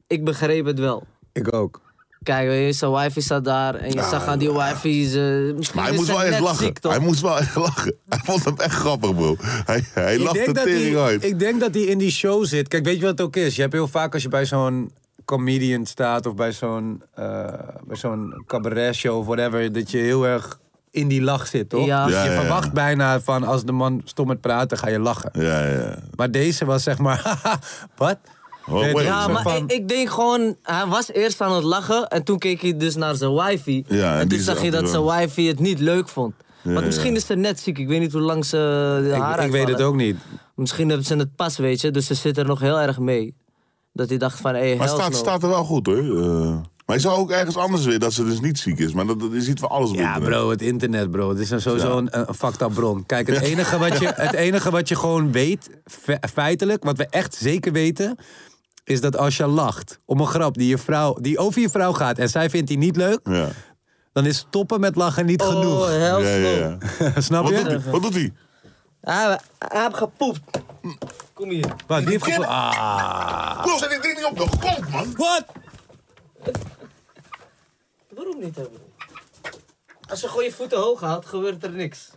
Speaker 6: ik begreep het wel.
Speaker 4: [LAUGHS] ik ook.
Speaker 6: Kijk, weet je, zijn wifi zat daar en je zag aan die wifi. Ze, misschien
Speaker 3: Maar hij
Speaker 6: is
Speaker 3: moest
Speaker 6: ze
Speaker 3: wel echt
Speaker 6: net
Speaker 3: lachen.
Speaker 6: ziek, toch?
Speaker 3: hij moest wel [LAUGHS] echt lachen. Hij vond hem echt grappig, bro. Hij, hij lachte de
Speaker 4: dat
Speaker 3: tering
Speaker 4: die-
Speaker 3: uit.
Speaker 4: Ik denk dat hij in die show zit. Kijk, weet je wat het ook is? Je hebt heel vaak als je bij zo'n comedian staat of bij zo'n, eh, bij zo'n cabaret show of whatever, dat je heel erg in die lach zit, toch?
Speaker 6: Ja.
Speaker 4: Dus
Speaker 3: Ja,
Speaker 4: je
Speaker 3: ja, ja.
Speaker 4: verwacht bijna van als de man stom met praten, ga je lachen.
Speaker 3: Ja, ja.
Speaker 4: Maar deze was zeg maar, [LAUGHS] wat?
Speaker 3: Oh,
Speaker 4: Nee,
Speaker 3: wait.
Speaker 4: toch?
Speaker 6: Ja,
Speaker 4: Zo
Speaker 6: maar
Speaker 4: van-
Speaker 6: ik, ik denk gewoon, hij was eerst aan het lachen en toen keek hij dus naar zijn wifi.
Speaker 3: Ja, en die
Speaker 6: en toen
Speaker 3: is
Speaker 6: zag je dat
Speaker 3: achteraan.
Speaker 6: zijn wifi het niet leuk vond. Want
Speaker 3: ja.
Speaker 6: misschien is ze net ziek, ik weet niet hoe lang ze de haar
Speaker 4: Ik, ik weet
Speaker 6: uitvallen.
Speaker 4: het ook niet.
Speaker 6: Misschien hebben ze het pas, weet je, dus ze zit er nog heel erg mee. Dat hij dacht van, hé, hey,
Speaker 3: Maar
Speaker 6: hell's
Speaker 3: staat,
Speaker 6: no.
Speaker 3: staat er wel goed, hoor. Eh, maar je zou ook ergens anders weer dat ze dus niet ziek is. Maar dat, dat is iets van alles op
Speaker 4: Ja,
Speaker 3: internet.
Speaker 4: bro, het internet, bro. Het is dan sowieso een, een fucked up bron. Kijk, het enige, wat
Speaker 3: [LAUGHS]
Speaker 4: je, het enige wat je gewoon weet, fe- feitelijk, wat we echt zeker weten, is dat als je lacht om een grap die, je vrouw, die over je vrouw gaat en zij vindt die niet leuk,
Speaker 3: Ja.
Speaker 4: dan is stoppen met lachen niet
Speaker 6: Oh,
Speaker 4: genoeg.
Speaker 6: hell's
Speaker 3: Ja, ja,
Speaker 6: no.
Speaker 3: ja.
Speaker 4: [LAUGHS] Snap
Speaker 3: Wat doet
Speaker 4: je?
Speaker 3: hij? Wat doet hij?
Speaker 6: Hij, hij heeft gepoept. Kom hier.
Speaker 4: Wat, die heeft
Speaker 3: Kip?
Speaker 4: gevo- Ah.
Speaker 3: Bro, zet die ding niet op de grond, man.
Speaker 4: Wat?
Speaker 6: Waarom niet hebben? Als je gewoon je voeten hoog houdt, gebeurt er niks.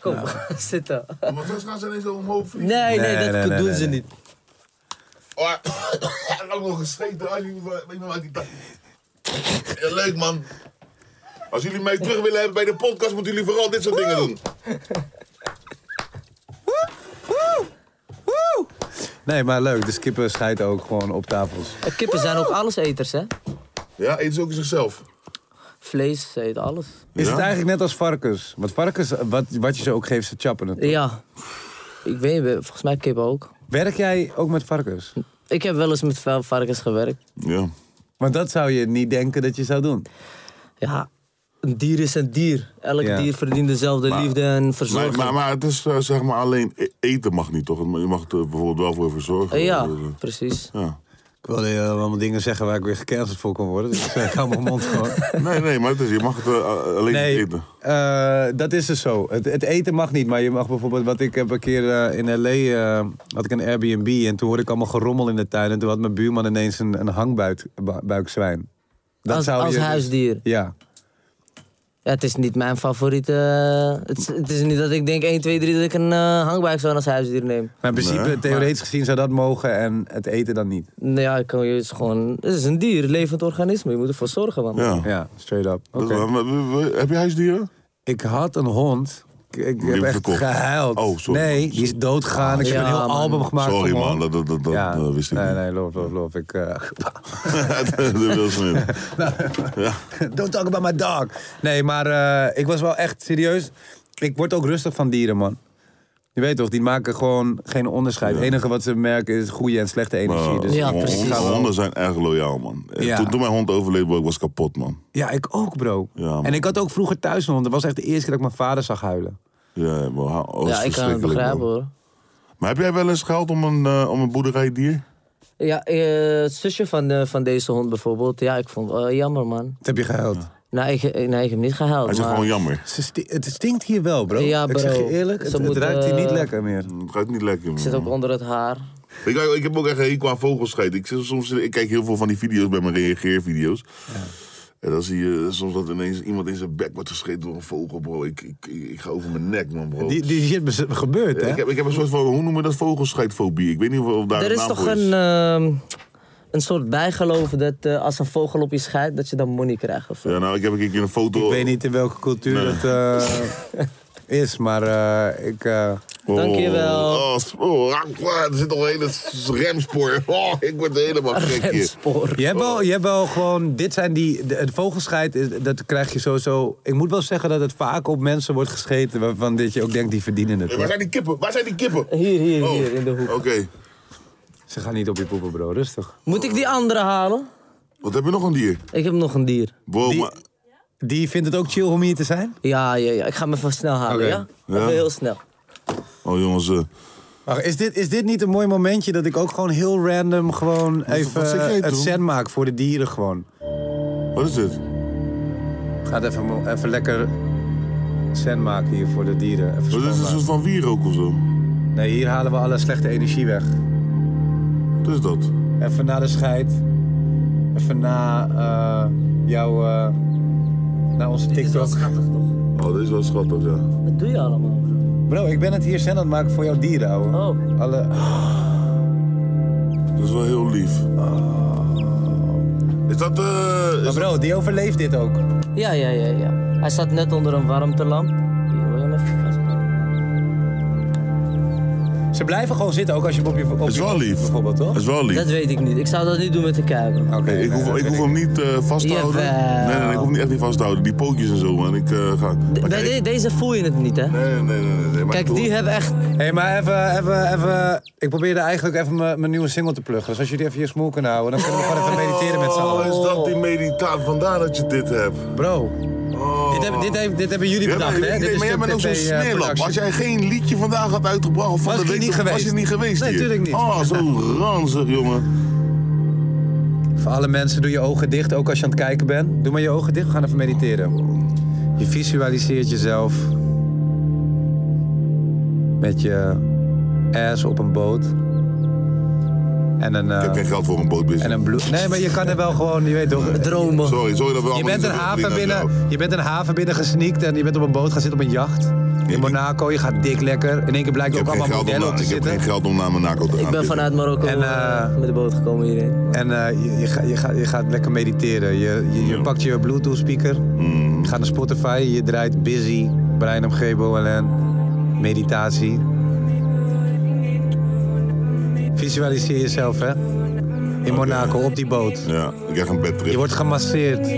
Speaker 6: Kom, [LAUGHS] zitten.
Speaker 3: Maar straks gaan ze ineens zo omhoog vliegen.
Speaker 6: Nee, nee,
Speaker 4: Nou. Nee,
Speaker 6: dat
Speaker 4: nee,
Speaker 6: doen
Speaker 4: nee, nee,
Speaker 6: ze
Speaker 4: nee.
Speaker 6: niet.
Speaker 3: Oh, [COUGHS] ik heb ook nog gescheten. Als jullie, weet je nog uit die tijd. Ja, leuk man. Als jullie mij terug willen hebben bij de podcast, moeten jullie vooral dit soort dingen doen.
Speaker 4: Nee, maar leuk. Dus kippen scheiden ook gewoon op tafels.
Speaker 6: En Kippen zijn ook alleseters, hè?
Speaker 3: Ja, eet ze ook zichzelf.
Speaker 6: Vlees, ze eten alles.
Speaker 4: Is
Speaker 3: Ja?
Speaker 4: het eigenlijk net als varkens? Want varkens, wat, wat je ze ook geeft, ze chappen het.
Speaker 6: Ja. Ik weet niet, volgens mij kippen ook.
Speaker 4: Werk jij ook met varkens?
Speaker 6: Ik heb wel eens met va- varkens gewerkt.
Speaker 3: Ja.
Speaker 4: Want dat zou je niet denken dat je zou doen.
Speaker 6: Ja, een dier is een dier. Elk
Speaker 4: Ja.
Speaker 6: dier verdient dezelfde liefde en verzorging.
Speaker 3: Maar, maar, maar het is eh, zeg maar alleen e- eten mag niet toch? Je mag er bijvoorbeeld wel voor verzorgen.
Speaker 6: Eh,
Speaker 4: Oh,
Speaker 6: ja, precies.
Speaker 3: ja.
Speaker 4: Ik wilde je allemaal dingen zeggen waar ik weer gecanceld voor kon worden. Dus ik zei, hou mijn [LAUGHS] mond gewoon.
Speaker 3: Nee, nee, maar het is, je mag het eh, alleen
Speaker 4: Nee,
Speaker 3: niet eten.
Speaker 4: eh, dat is dus zo. Het, het eten mag niet, maar je mag bijvoorbeeld... Wat ik heb een keer eh, in L.A. eh, had ik een Airbnb en toen hoorde ik allemaal gerommel in de tuin. En toen had mijn buurman ineens een, een hangbuikzwijn. Dat
Speaker 6: Als- als
Speaker 4: dus-
Speaker 6: huisdier.
Speaker 4: Ja.
Speaker 6: Ja, het is niet mijn favoriete. eh, Het is, het is niet dat ik denk 1, 2, 3 dat ik een eh hangbuik zou als huisdier neem.
Speaker 4: Maar in principe, theoretisch gezien zou dat mogen en het eten dan niet.
Speaker 6: Nou ja, ik kan, het, is gewoon, het is een dier, levend organisme. Je moet ervoor zorgen, man.
Speaker 3: Ja.
Speaker 4: Ja, straight up.
Speaker 3: Dat-
Speaker 4: Oké.
Speaker 3: maar- maar- heb je huisdieren?
Speaker 4: Ik had een hond. Ik, ik
Speaker 3: heb
Speaker 4: heb
Speaker 3: je
Speaker 4: echt
Speaker 3: verkocht?
Speaker 4: gehuild.
Speaker 3: Oh, sorry.
Speaker 4: Nee, die is doodgegaan. Ik heb
Speaker 6: Ja,
Speaker 4: een heel
Speaker 6: man.
Speaker 4: album gemaakt
Speaker 3: Sorry
Speaker 4: van
Speaker 3: man,
Speaker 4: hond.
Speaker 3: dat, dat, dat, dat,
Speaker 4: ja.
Speaker 3: eh, wist ik
Speaker 4: nee,
Speaker 3: niet.
Speaker 4: Nee, loof, loof, loof. Ik,
Speaker 3: [LAUGHS]
Speaker 4: eh, Nou,
Speaker 3: dat wil ze niet.
Speaker 4: [LAUGHS] Don't talk about my dog. Nee, maar eh, ik was wel echt serieus. Ik word ook rustig van dieren, man. Je weet toch, die maken gewoon geen onderscheid. Het enige wat ze merken is goede en slechte energie.
Speaker 3: Maar
Speaker 4: dus
Speaker 6: Ja,
Speaker 4: ik
Speaker 3: hon-
Speaker 6: precies.
Speaker 3: hon-
Speaker 4: ga wel-
Speaker 3: Honden zijn erg loyaal, man. Eh,
Speaker 4: Ja.
Speaker 3: Toen, toen mijn hond overleed, bro, ik was kapot, man.
Speaker 4: ja, ik ook, bro.
Speaker 3: Ja, man.
Speaker 4: en ik had ook vroeger thuis een hond. Dat was echt de eerste keer dat ik mijn vader zag huilen.
Speaker 3: Ja, bro, ha- oh, is
Speaker 6: ja, ik kan het
Speaker 3: verschrikkelijk,
Speaker 6: begrijpen
Speaker 3: bro.
Speaker 6: hoor.
Speaker 3: Maar heb jij wel eens geld om een, eh, om een boerderijdier?
Speaker 6: Ja, eh, het zusje van, eh, van deze hond bijvoorbeeld. Ja, ik vond eh, jammer, man.
Speaker 4: Dat heb je gehuild.
Speaker 6: Nou, ik, eh, nee, ik heb niet gehuild.
Speaker 3: Hij zegt
Speaker 6: maar...
Speaker 3: gewoon jammer.
Speaker 4: Ze sti- het stinkt hier wel, bro.
Speaker 6: Ja,
Speaker 4: Ik zeg
Speaker 6: bro.
Speaker 4: je eerlijk, het,
Speaker 6: Ze
Speaker 4: het
Speaker 6: moet,
Speaker 4: ruikt hier
Speaker 6: eh,
Speaker 4: niet lekker meer.
Speaker 3: Het gaat niet lekker, man.
Speaker 6: Ik zit ook onder het haar.
Speaker 3: Ik, ik heb ook echt een hekel aan vogelscheid. Ik, zit soms, ik kijk heel veel van die video's bij mijn reageervideo's. En dan zie je soms dat ineens iemand in zijn bek wordt gescheten door een vogel, bro. Ik, ik, ik, ik ga over mijn nek, man, bro.
Speaker 4: Die, die shit is gebeurd, hè?
Speaker 3: ik, heb, ik heb een soort van, hoe noemen we dat, vogelscheidfobie? Ik weet niet of, of daar
Speaker 6: Er
Speaker 3: een
Speaker 6: is
Speaker 3: naam
Speaker 6: toch
Speaker 3: voor
Speaker 6: een, ehm, een soort bijgeloof dat eh, als een vogel op je scheidt, dat je dan money krijgt of zo.
Speaker 3: Ja, nou, ik heb een keer een foto...
Speaker 4: Ik weet niet in welke cultuur dat eh, is, maar eh, ik... eh,
Speaker 6: Dankjewel.
Speaker 3: Oh, oh, sp- oh, rank, ah, er zit nog een hele s- remspoor. Oh, ik word helemaal gek hier.
Speaker 6: Remspoor.
Speaker 4: Je hebt, wel, je hebt wel gewoon, dit zijn die, de, het vogelscheid, is, dat krijg je sowieso. Ik moet wel zeggen dat het vaak op mensen wordt gescheten waarvan dit je ook denkt, die verdienen het.
Speaker 3: Hey,
Speaker 4: hoor.
Speaker 3: waar zijn die kippen? Waar zijn die kippen?
Speaker 6: Hier, hier,
Speaker 3: Oh,
Speaker 6: hier in de hoek.
Speaker 3: Oké.
Speaker 4: Ze gaan niet op je poepen, bro, rustig.
Speaker 6: Moet ik die andere halen?
Speaker 3: Wat heb je nog een dier?
Speaker 6: Ik heb nog een dier.
Speaker 3: Bro,
Speaker 4: Die-
Speaker 3: maar-
Speaker 4: Die vindt het ook chill om hier te zijn?
Speaker 6: Ja, ja, ja. Ik ga hem even snel halen,
Speaker 4: Oké.
Speaker 6: ja?
Speaker 3: Ja.
Speaker 6: Even heel snel.
Speaker 3: Oh, jongens. eh,
Speaker 4: Wacht, is dit, is dit niet een mooi momentje dat ik ook gewoon heel random gewoon
Speaker 3: wat zit
Speaker 4: even
Speaker 3: jij te
Speaker 4: het
Speaker 3: doen?
Speaker 4: zen maak voor de dieren gewoon?
Speaker 3: wat is dit?
Speaker 4: Gaat even, mo- even lekker zen maken hier voor de dieren. Even
Speaker 3: Wat is een
Speaker 4: schoonmaken.
Speaker 3: soort van wierook of zo?
Speaker 4: Nee, hier halen we alle slechte energie weg.
Speaker 3: Wat is dat?
Speaker 4: Even na de scheid. Even na eh jouw. eh naar onze TikTok.
Speaker 6: schattig, toch?
Speaker 3: Oh, dat is wel schattig, ja.
Speaker 6: Wat doe je allemaal, bro?
Speaker 4: Bro, ik ben het hier zen aan het maken voor jouw dieren, ouwe.
Speaker 6: Oh.
Speaker 4: Alle...
Speaker 3: Dat is wel heel lief. Ah. Is dat... eh
Speaker 4: Maar
Speaker 3: is
Speaker 4: bro, die overleeft dit ook.
Speaker 6: Ja, ja, ja, ja. Hij staat net onder een warmtelamp. Hier, wil je hem even vastpakken?
Speaker 4: Ze blijven gewoon zitten, ook als je hem op je... Op
Speaker 3: is
Speaker 4: je-
Speaker 3: wel lief.
Speaker 4: Bijvoorbeeld, toch?
Speaker 3: Dat is wel lief.
Speaker 6: Dat weet ik niet. Ik zou dat niet doen met de kuiken.
Speaker 4: Oké,
Speaker 3: Ik
Speaker 4: nee,
Speaker 3: hoef,
Speaker 4: dat
Speaker 3: ik
Speaker 4: weet
Speaker 3: hoef hem niet eh, vast te houden.
Speaker 6: Jawel.
Speaker 3: Nee, nee, nee, ik hoef hem echt niet vast te houden. Die pootjes en zo, man. Ik eh, ga...
Speaker 6: De-
Speaker 3: Maar
Speaker 6: bij
Speaker 3: kijk-
Speaker 6: de- deze voel je het niet, hè?
Speaker 3: Nee, nee, nee. nee, nee, maar
Speaker 6: Kijk,
Speaker 3: ik
Speaker 6: die
Speaker 3: bedoel-
Speaker 6: hebben echt...
Speaker 4: Hé, hey, maar even, even, even... Ik probeerde eigenlijk even mijn mijn nieuwe single te pluggen. Dus als jullie even hier smoel kunnen houden, dan kunnen we gewoon even mediteren met z'n
Speaker 3: Oh,
Speaker 4: allen.
Speaker 3: is dat die meditatie? Vandaar dat je dit hebt.
Speaker 4: Bro, dit, hebben, dit, hebben, dit hebben jullie
Speaker 3: Oh. Ja, maar,
Speaker 4: bedacht, hè?
Speaker 3: nee,
Speaker 4: dit
Speaker 3: maar jij
Speaker 4: de
Speaker 3: bent ook zo'n
Speaker 4: TT, eh,
Speaker 3: smeerlap.
Speaker 4: productie.
Speaker 3: Als jij geen liedje vandaag had uitgebracht of van
Speaker 4: Was
Speaker 3: de
Speaker 4: ik
Speaker 3: week,
Speaker 4: niet
Speaker 3: dan was
Speaker 4: geweest.
Speaker 3: je niet geweest
Speaker 4: Nee,
Speaker 3: hier.
Speaker 4: tuurlijk niet.
Speaker 3: Oh, zo ranzig, jongen.
Speaker 4: Voor alle mensen, doe je ogen dicht, ook als je aan het kijken bent. Doe maar je ogen dicht, we gaan even mediteren. Je visualiseert jezelf met je ass op een boot. En een, eh,
Speaker 3: Ik heb geen geld voor een bootbusiness.
Speaker 4: en een bloe- Nee, maar je kan er wel gewoon, je weet toch.
Speaker 6: Dromen.
Speaker 3: Sorry, sorry dat we allemaal
Speaker 4: Je bent,
Speaker 3: niet
Speaker 4: een
Speaker 3: zoveel
Speaker 4: haven
Speaker 3: verdienen aan jou.
Speaker 4: binnen, je bent een haven binnen gesneakt en je bent op een boot gaan zitten op een jacht. In Monaco, je gaat dik lekker. In één keer blijkt
Speaker 3: Ik
Speaker 4: er ook
Speaker 3: heb, geen
Speaker 4: allemaal
Speaker 3: geld om,
Speaker 4: modellen op
Speaker 3: naar-
Speaker 4: te
Speaker 3: ik heb
Speaker 4: zitten.
Speaker 3: geen geld om naar Monaco te gaan.
Speaker 6: Ik ben
Speaker 3: dit.
Speaker 6: vanuit Marokko
Speaker 4: En, eh,
Speaker 6: eh, met de boot
Speaker 4: [LAUGHS]
Speaker 6: gekomen hierheen.
Speaker 4: En eh, je, je, ga- je, gaat- je gaat lekker mediteren. Je, je, je pakt je Bluetooth speaker, je gaat naar Spotify, je draait Busy, Brian M. Gebo en meditatie. Visualiseer jezelf, hè? In Monaco, op die boot.
Speaker 3: Ja, ik krijg een bedtrip.
Speaker 4: Je wordt gemasseerd,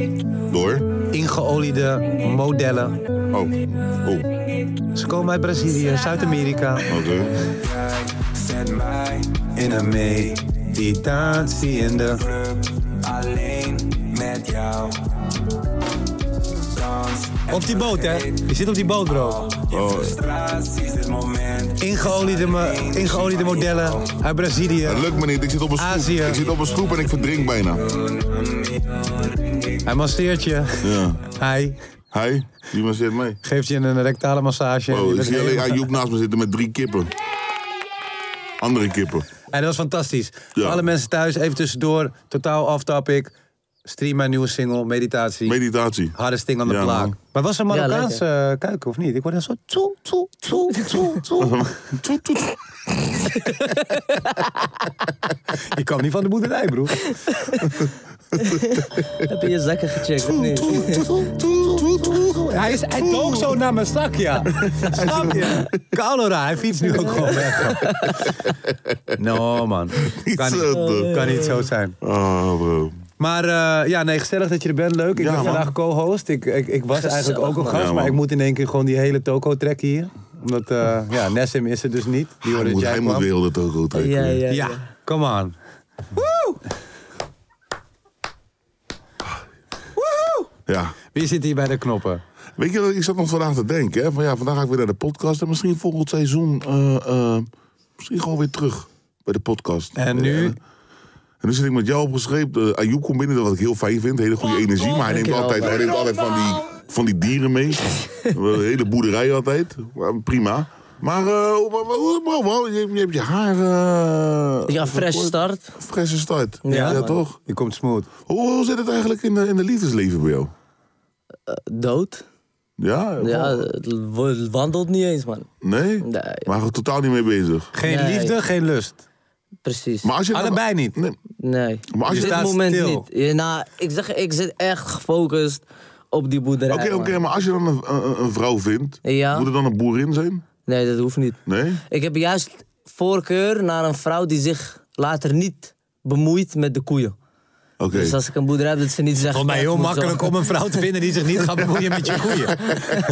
Speaker 3: Door?
Speaker 4: ingeoliede modellen.
Speaker 3: Oh, oh,
Speaker 4: Ze komen uit Brazilië, Zuid-Amerika.
Speaker 3: oké.
Speaker 7: Zet mij
Speaker 4: In een meditatie in de...
Speaker 7: alleen met jou. Dans en
Speaker 4: Op die boot, hè? Je zit op die boot, bro.
Speaker 3: Oh,
Speaker 7: frustraties, dit moment.
Speaker 4: Ingeoliede, me- ingeoliede modellen uit Brazilië.
Speaker 3: het lukt me niet, ik zit op een
Speaker 4: Azië.
Speaker 3: sloep. Ik zit op een sloep en ik verdrink bijna.
Speaker 4: Hij masseert je.
Speaker 3: Ja.
Speaker 4: Hij
Speaker 3: Hij, die man zit mee.
Speaker 4: geeft je een rectale massage. Je
Speaker 3: Oh, ik
Speaker 4: bent
Speaker 3: zie alleen
Speaker 4: helemaal-
Speaker 3: Ayoub naast me zitten met drie kippen. Andere kippen.
Speaker 4: En dat was fantastisch.
Speaker 3: Ja.
Speaker 4: Voor alle mensen thuis, even tussendoor. Totaal off topic. Stream mijn nieuwe single, Meditatie.
Speaker 3: Meditatie.
Speaker 4: Harde sting aan de
Speaker 3: Ja,
Speaker 4: plaat.
Speaker 3: man.
Speaker 4: Maar was er Marokkaanse
Speaker 6: lekker.
Speaker 4: eh, kuiken of niet? Ik hoorde een soort toe, toe, toe, toe, [LAUGHS] toe.
Speaker 3: Toet, toet.
Speaker 4: Je kwam niet van de boerderij, broer.
Speaker 6: Heb je je zakken gecheckt of niet?
Speaker 4: Hij, is, hij toog zo naar mijn zak, [LAUGHS] ja. Snap je? Cholera, hij fietst nu ook gewoon weg. [LAUGHS] No, [LAUGHS] man. Kan
Speaker 3: zo, toch.
Speaker 4: niet, kan niet zo Ah, zijn.
Speaker 3: Oh, bro.
Speaker 4: Maar eh, ja, nee, gezellig dat je er bent. Leuk.
Speaker 3: Ja,
Speaker 4: Ik ben
Speaker 3: man.
Speaker 4: vandaag co-host. Ik, ik, ik was
Speaker 6: Gezellig,
Speaker 4: eigenlijk ook een
Speaker 6: man.
Speaker 4: gast,
Speaker 3: Ja,
Speaker 4: maar
Speaker 3: man.
Speaker 4: ik moet in één keer gewoon die hele toko trekken hier. Omdat, eh, ja, Nessim is er dus niet. Die hoorde
Speaker 3: Hij
Speaker 4: dat
Speaker 3: moet,
Speaker 4: jij
Speaker 3: hij moet
Speaker 4: kwam.
Speaker 3: weer heel de toko trekken.
Speaker 6: [LAUGHS] Ja, ja,
Speaker 4: Ja,
Speaker 6: ja.
Speaker 4: come on.
Speaker 3: Ja.
Speaker 4: Wie zit hier bij de knoppen?
Speaker 3: Weet je, ik zat nog vandaag te denken, hè, van ja, vandaag ga ik weer naar de podcast en misschien volgend seizoen, eh, eh, misschien gewoon weer terug bij de podcast.
Speaker 4: En nu?
Speaker 3: En nu zit ik met jou opgeschreven. Uh, Ayoub komt binnen, wat ik heel fijn vind. Hele
Speaker 4: Oh,
Speaker 3: goede energie. Maar hij neemt
Speaker 6: Dankjewel,
Speaker 3: altijd, hij neemt altijd van, die,
Speaker 4: nou.
Speaker 3: van die dieren
Speaker 4: [LAUGHS]
Speaker 3: mee. Een hele boerderij altijd. Maar Prima. Maar, eh, maar- maar- maar- maar- je, je hebt je haar... eh,
Speaker 6: Ja, fresh start.
Speaker 3: Frisse start. Ja,
Speaker 6: man.
Speaker 3: toch?
Speaker 4: Je komt smooth.
Speaker 3: Hoe, hoe zit het eigenlijk in de, in de liefdesleven bij jou?
Speaker 6: Dood.
Speaker 3: Ja?
Speaker 6: Ja, het wo- het wandelt niet eens, man.
Speaker 3: Nee?
Speaker 6: Nee.
Speaker 3: Maar gewoon totaal niet mee bezig.
Speaker 4: Geen
Speaker 6: Nee.
Speaker 4: liefde, geen lust.
Speaker 6: Precies.
Speaker 3: Maar als je
Speaker 4: Allebei niet.
Speaker 3: Nee,
Speaker 6: Nee.
Speaker 3: Maar als je
Speaker 6: Op dit
Speaker 4: staat
Speaker 6: moment
Speaker 4: stil.
Speaker 6: niet. Ja, nou, ik zeg, ik zit echt gefocust op die boerderij.
Speaker 3: Oké, oké,
Speaker 6: man.
Speaker 3: maar als je dan een, een, een vrouw vindt,
Speaker 6: Ja.
Speaker 3: moet er dan een boerin zijn?
Speaker 6: Nee, dat hoeft niet.
Speaker 3: Nee?
Speaker 6: Ik heb juist voorkeur naar een vrouw die zich later niet bemoeit met de koeien.
Speaker 3: Oké.
Speaker 6: Dus als ik een boerderij heb, dat ze niet zegt...
Speaker 4: Volgens mij
Speaker 6: "Ja,
Speaker 4: heel
Speaker 6: ik moet
Speaker 4: makkelijk
Speaker 6: zo."
Speaker 4: om een vrouw te vinden die zich niet gaat bemoeien met je koeien.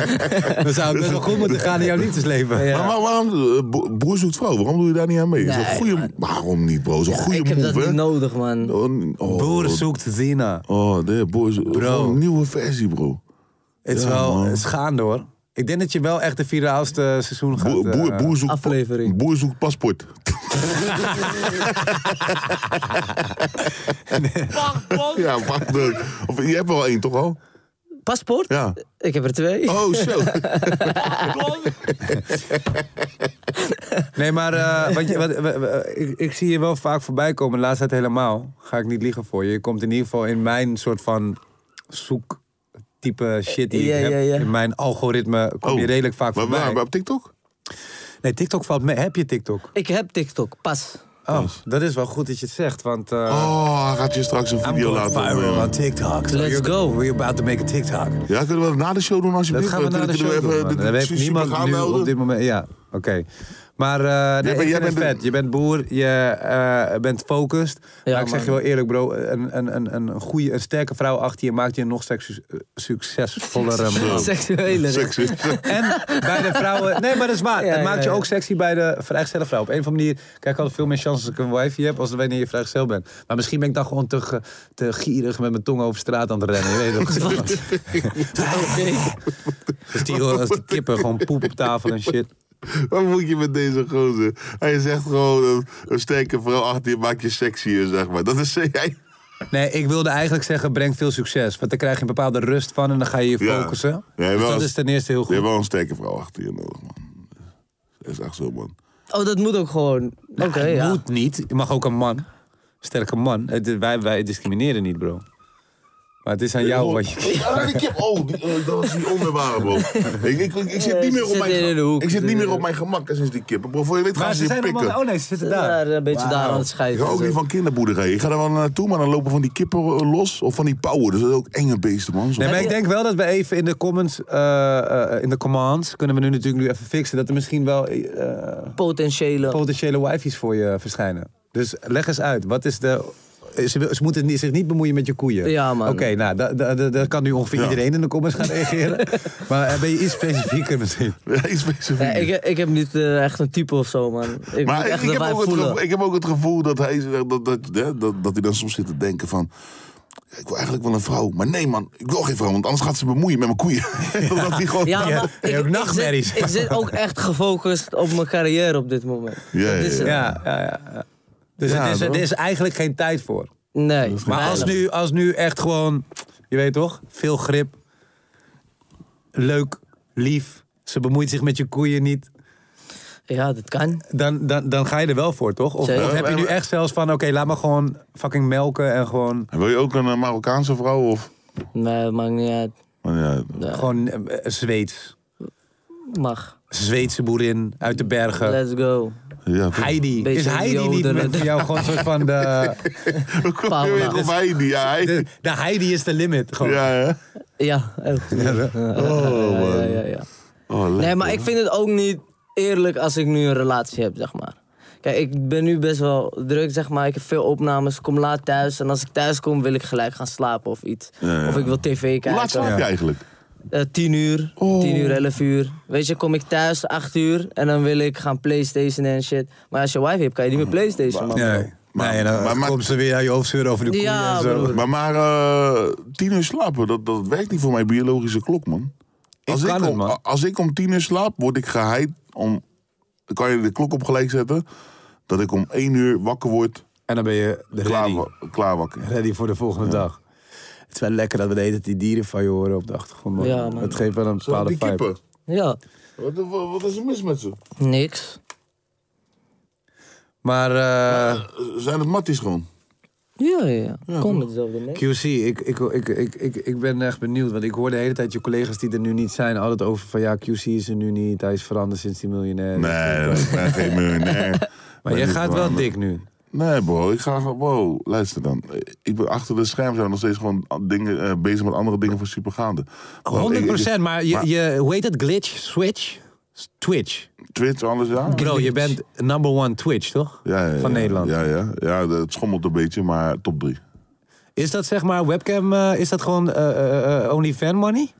Speaker 4: [LAUGHS] Dan zou het best wel goed moeten gaan in jouw liefdesleven.
Speaker 6: Ja.
Speaker 3: Maar waar- waarom, eh, bo- broer zoekt vrouw, waarom doe je daar niet aan mee? is een
Speaker 6: Nee,
Speaker 3: goede, waarom niet, bro? Zo'n goede
Speaker 6: Ik heb dat
Speaker 3: move, hè?
Speaker 6: niet nodig, man.
Speaker 3: Oh, oh,
Speaker 4: Boer zoekt Zina.
Speaker 3: Oh, de boer zoekt- gewoon Een nieuwe versie, bro.
Speaker 4: Het is
Speaker 3: Ja,
Speaker 4: wel
Speaker 3: man.
Speaker 4: het is gaande hoor. Ik denk dat je wel echt de viraalste seizoen gaat.
Speaker 3: Boer,
Speaker 4: eh,
Speaker 3: boer, boer zoekt,
Speaker 6: aflevering.
Speaker 3: boer zoekt paspoort. ja, pak de- Of Je hebt wel één, toch al?
Speaker 6: Paspoort?
Speaker 3: Ja.
Speaker 6: Ik heb er twee.
Speaker 3: Oh, zo.
Speaker 4: Nee, maar
Speaker 6: [LAUGHS]
Speaker 4: eh, want je, wat, wat- wat- ik, ik zie je wel vaak voorbij komen. Laatst tijd helemaal. Ga ik niet liegen voor je. Je komt in ieder geval in mijn soort van zoektype shit die
Speaker 6: Ja,
Speaker 4: ik heb.
Speaker 6: ja, ja.
Speaker 4: In mijn algoritme kom je
Speaker 3: Oh.
Speaker 4: redelijk vaak
Speaker 3: Maar
Speaker 4: voorbij.
Speaker 3: waar, waar, op TikTok?
Speaker 4: Nee, TikTok valt mee. Heb je TikTok?
Speaker 6: Ik heb TikTok, pas.
Speaker 4: Oh, dat is wel goed dat je het zegt, want... eh,
Speaker 3: Oh, hij gaat je straks een
Speaker 4: I'm
Speaker 3: video
Speaker 4: going
Speaker 3: laten.
Speaker 4: viral
Speaker 3: eh,
Speaker 4: on TikTok. So
Speaker 6: Let's
Speaker 4: you're-
Speaker 6: go.
Speaker 4: We're about to make a TikTok.
Speaker 3: Ja, kunnen we dat na de show doen
Speaker 4: Dat
Speaker 3: alsjeblieft?
Speaker 4: gaan we
Speaker 3: Kunnen-
Speaker 4: naar de
Speaker 3: kunnen
Speaker 4: show doen,
Speaker 3: we
Speaker 4: man.
Speaker 3: even
Speaker 4: Dat heeft
Speaker 3: dit
Speaker 4: niemand
Speaker 3: niemand
Speaker 4: nu
Speaker 3: aanmelden?
Speaker 4: op dit moment. Ja, oké. Maar eh nee,
Speaker 3: bent-
Speaker 4: ik
Speaker 3: jij
Speaker 4: vind het
Speaker 3: bent
Speaker 4: vet.
Speaker 3: een-
Speaker 4: Je bent boer, je eh, bent focused.
Speaker 6: Ja,
Speaker 4: maar ik zeg je
Speaker 6: man.
Speaker 4: wel eerlijk bro, een, een, een, een goede, een sterke vrouw achter je maakt je een nog succes- succesvollere
Speaker 6: [LAUGHS]
Speaker 3: [LAUGHS]
Speaker 4: man.
Speaker 6: Seksuele.
Speaker 3: Sexy.
Speaker 4: eh, En bij de vrouwen. Nee, maar dat is waar.
Speaker 6: Ja,
Speaker 4: het maakt
Speaker 6: ja,
Speaker 4: je
Speaker 6: ja.
Speaker 4: ook sexy bij de vrijgestelde vrouw. Op een of andere manier kijk ik altijd veel meer kans als ik een wife heb. als wanneer je vrijgezel bent. Maar misschien ben ik dan gewoon te, ge- te gierig met mijn tong over straat aan het rennen. Je weet toch? Dus die, gewoon- als die kippen gewoon poep op tafel en shit.
Speaker 3: Wat moet je met deze gozer? Hij zegt gewoon een, een sterke vrouw achter je maakt je sexier, zeg maar. Dat is [LAUGHS] hij.
Speaker 4: Nee, ik wilde eigenlijk zeggen: breng veel succes. Want dan krijg je een bepaalde rust van en dan ga je je
Speaker 3: Ja.
Speaker 4: focussen.
Speaker 3: Ja,
Speaker 4: Dus
Speaker 3: wel
Speaker 4: dat
Speaker 3: eens-
Speaker 4: is ten eerste heel
Speaker 3: Je
Speaker 4: goed.
Speaker 3: hebt wel een sterke vrouw achter je nodig, man. Dat is echt zo, man.
Speaker 6: Oh, dat moet ook gewoon. Oké,
Speaker 4: Het
Speaker 6: ja.
Speaker 4: moet niet. Je mag ook een man. sterke man. Het, wij, wij discrimineren niet, bro. Maar het is aan jou wat je...
Speaker 3: Ja, die kip. Oh, die, eh, dat was die onder waren, bro. Ik, ik, ik, ik zit
Speaker 6: Nee,
Speaker 3: niet
Speaker 6: ze
Speaker 3: meer op
Speaker 6: zitten
Speaker 3: mijn
Speaker 6: in de
Speaker 3: gemak.
Speaker 6: hoek.
Speaker 3: Ik zit niet meer op mijn gemak hè, sinds die kippen. Bro, voor je weet gaan
Speaker 4: Maar
Speaker 3: ze
Speaker 4: ze
Speaker 3: je
Speaker 4: zijn
Speaker 3: pikken.
Speaker 4: allemaal... Oh nee, ze zitten daar.
Speaker 6: Daar een beetje daar aan het
Speaker 3: Ik
Speaker 6: scheiden.
Speaker 3: hou ook niet van kinderboerderij. Ik ga er wel naartoe, maar dan lopen van die kippen eh, los. Of van die pauwen. Dat zijn ook enge beesten, man. Zo. [LAUGHS]
Speaker 4: Nee, maar ik denk wel dat we even in de comments, eh, eh, in de commands, kunnen we nu natuurlijk nu even fixen dat er misschien wel eh,
Speaker 6: Potentiële.
Speaker 4: potentiële wifi's voor je verschijnen. Dus leg eens uit, wat is de... Ze, wil- ze moeten niet- zich niet bemoeien met je koeien.
Speaker 6: Ja, man.
Speaker 4: Oké, nou, daar da, da- daar kan nu ongeveer iedereen in de comments gaan reageren. [LAUGHS] maar eh, ben je iets specifieker misschien?
Speaker 3: Ja, iets specifiek.
Speaker 6: Ja, ik, ik heb niet eh, echt een type of zo, man. Ik moet
Speaker 3: Maar ik,
Speaker 6: echt
Speaker 3: ik
Speaker 6: de
Speaker 3: heb
Speaker 6: vibe
Speaker 3: ook het
Speaker 6: voelen.
Speaker 3: gevoel, ik heb ook het gevoel dat hij, dat, dat, dat, hè, dat, dat hij dan soms zit te denken van... ja, Ik wil eigenlijk wel een vrouw. Maar nee man, ik wil geen vrouw. Want anders gaat ze bemoeien met mijn koeien. [LAUGHS] dat hij gewoon...
Speaker 6: Ja,
Speaker 4: Je-
Speaker 6: maar
Speaker 4: je hebt nachtmerries.
Speaker 6: Ik zit, ik zit ook echt gefocust op mijn carrière op dit moment.
Speaker 3: Ja,
Speaker 6: Dat
Speaker 3: ja,
Speaker 6: is
Speaker 3: ja.
Speaker 6: het.
Speaker 4: Ja, ja, ja. ja. Dus
Speaker 3: Ja,
Speaker 4: het is,
Speaker 3: bro.
Speaker 4: er is eigenlijk geen tijd voor.
Speaker 6: Nee.
Speaker 4: Maar als nu, als nu echt gewoon, je weet toch, veel grip, leuk, lief, ze bemoeit zich met je koeien niet,
Speaker 6: Ja, dat kan.
Speaker 4: dan, dan, dan ga je er wel voor, toch? Of,
Speaker 6: Zeker.
Speaker 4: of heb je nu echt zelfs van, oké, laat me gewoon fucking melken en gewoon,
Speaker 3: Wil je ook een eh, Marokkaanse vrouw? Of...
Speaker 6: Nee, dat maakt niet uit.
Speaker 3: Maar ja,
Speaker 4: gewoon eh, eh, Zweeds.
Speaker 6: Mag.
Speaker 4: Zweedse boerin uit de bergen.
Speaker 6: Let's go.
Speaker 3: ja, [LAUGHS]
Speaker 4: Heidi.
Speaker 6: Beetje
Speaker 4: Is Heidi niet
Speaker 6: jodelen.
Speaker 4: met voor jou gewoon een soort van [LAUGHS] de,
Speaker 3: Hoe kom je
Speaker 6: Paula.
Speaker 3: weer
Speaker 6: [LAUGHS]
Speaker 3: op Heidi? Ja,
Speaker 4: de...
Speaker 3: Heidi.
Speaker 4: De Heidi is de limit, gewoon.
Speaker 3: Ja, hè?
Speaker 6: Ja, heel
Speaker 4: [LAUGHS]
Speaker 6: goed.
Speaker 3: Oh,
Speaker 6: Ja,
Speaker 3: man.
Speaker 6: ja, ja.
Speaker 3: Oh,
Speaker 6: Nee,
Speaker 3: lekker.
Speaker 6: maar ik vind het ook niet eerlijk als ik nu een relatie heb, zeg maar. Kijk, ik ben nu best wel druk, zeg maar. Ik heb veel opnames, ik kom laat thuis. En als ik thuis kom, wil ik gelijk gaan slapen of iets.
Speaker 3: ja.
Speaker 6: Of ik wil tv
Speaker 3: Hoe laat
Speaker 6: kijken.
Speaker 3: slaap je eigenlijk?
Speaker 6: Eh, 10 uur,
Speaker 4: Oh.
Speaker 6: 10 uur, 11 uur. Weet je, kom ik thuis 8 uur en dan wil ik gaan PlayStation en shit. Maar als je wifi hebt, kan je niet meer PlayStation, man.
Speaker 4: Nee.
Speaker 3: Maar-
Speaker 4: nee, en dan
Speaker 3: maar- maar-
Speaker 4: komt ze weer aan je hoofd zeuren over de koeien
Speaker 6: Ja,
Speaker 4: en zo.
Speaker 6: broer.
Speaker 3: Maar, maar eh, tien uur slapen, dat, dat werkt niet voor mijn biologische klok, man. Als
Speaker 4: kan het,
Speaker 3: om,
Speaker 4: man.
Speaker 3: Als ik om tien uur slaap, word ik geheid om... Dan kan je de klok op gelijk zetten. Dat ik om één uur wakker word,
Speaker 4: En dan ben je
Speaker 3: klaar,
Speaker 4: ready.
Speaker 3: wa- klaar wakker.
Speaker 4: Ready voor de volgende dag. Het is wel lekker dat we de hele tijd die dieren van je horen op de achtergrond. Man.
Speaker 6: Ja, man.
Speaker 4: Het geeft wel een bepaalde vibe.
Speaker 6: Ja,
Speaker 3: Wat, is er mis met ze?
Speaker 6: niks.
Speaker 4: Maar eh,
Speaker 3: Zijn het matties gewoon?
Speaker 6: Ja, ja, ja. Kom met hetzelfde mee.
Speaker 4: QC, ik, ik, ik, ik, ik, ik ben echt benieuwd. Want ik hoor de hele tijd je collega's die er nu niet zijn... altijd over van ja, QC is er nu niet. Hij is veranderd sinds die miljonair.
Speaker 3: Nee, dat ik ben geen miljonair.
Speaker 4: maar
Speaker 3: Ben
Speaker 4: jij
Speaker 3: niet Oh,
Speaker 4: gaat wel
Speaker 3: veranderd.
Speaker 4: dik nu.
Speaker 3: Nee, bro. Ik ga gewoon... Wow, luister dan. Ik ben achter de scherm zijn we nog steeds gewoon dingen, eh, bezig met andere dingen voor supergaande. Bro,
Speaker 4: 100
Speaker 3: ik- ik-
Speaker 4: maar je, je, hoe heet het? Glitch? Switch? S- Twitch.
Speaker 3: Oh, Twitch, alles, ja?
Speaker 4: Bro, je bent number one Twitch, toch?
Speaker 3: Ja, ja, ja,
Speaker 4: van
Speaker 3: ja.
Speaker 4: Nederland.
Speaker 3: Ja, ja. ja, de- het schommelt een beetje, maar top drie.
Speaker 4: Is dat zeg maar webcam, eh, is dat gewoon eh, eh, eh, OnlyFan money?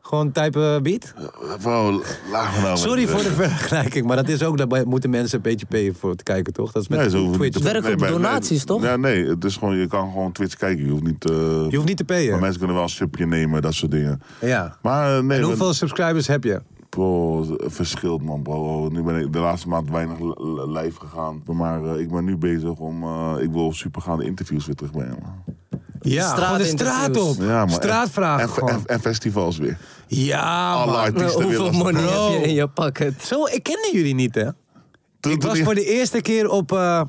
Speaker 4: Gewoon type eh, beat?
Speaker 3: Bro, laat me nou
Speaker 4: Sorry voor de vergelijking, maar dat is ook, daar moeten mensen een beetje payen voor te kijken, toch? Dat is met
Speaker 3: Nee, zo hoef je niet
Speaker 4: Twitch.
Speaker 3: te-
Speaker 6: Werk op
Speaker 3: bij-
Speaker 6: donaties, toch?
Speaker 3: Ja, nee, het is gewoon, je kan gewoon Twitch kijken. Je hoeft niet... eh,
Speaker 4: Je hoeft niet te payen.
Speaker 3: Maar mensen kunnen wel een subje nemen, dat soort dingen.
Speaker 4: Ja.
Speaker 3: Maar eh, nee,
Speaker 4: En
Speaker 3: we-
Speaker 4: hoeveel subscribers heb je?
Speaker 3: Bro, het verschilt man, bro. Nu ben ik de laatste maand weinig li- li- live gegaan. Maar eh, ik ben nu bezig om. eh, ik wil supergaande interviews weer terugbrengen. Man.
Speaker 4: Ja, gewoon de straat op.
Speaker 6: Straatinterviews.
Speaker 3: man. En-
Speaker 4: Straatvragen
Speaker 3: En,
Speaker 4: gewoon.
Speaker 3: en- en festivals weer.
Speaker 4: ja,
Speaker 3: Alle
Speaker 4: man.
Speaker 3: artiesten weer.
Speaker 6: Hoeveel
Speaker 3: als-
Speaker 6: money
Speaker 3: Bro,
Speaker 6: heb je in je pakket?
Speaker 4: Zo, ik kende jullie niet, hè?
Speaker 3: toen-
Speaker 4: Ik
Speaker 3: toen
Speaker 4: was
Speaker 3: die-
Speaker 4: voor de eerste keer op eh,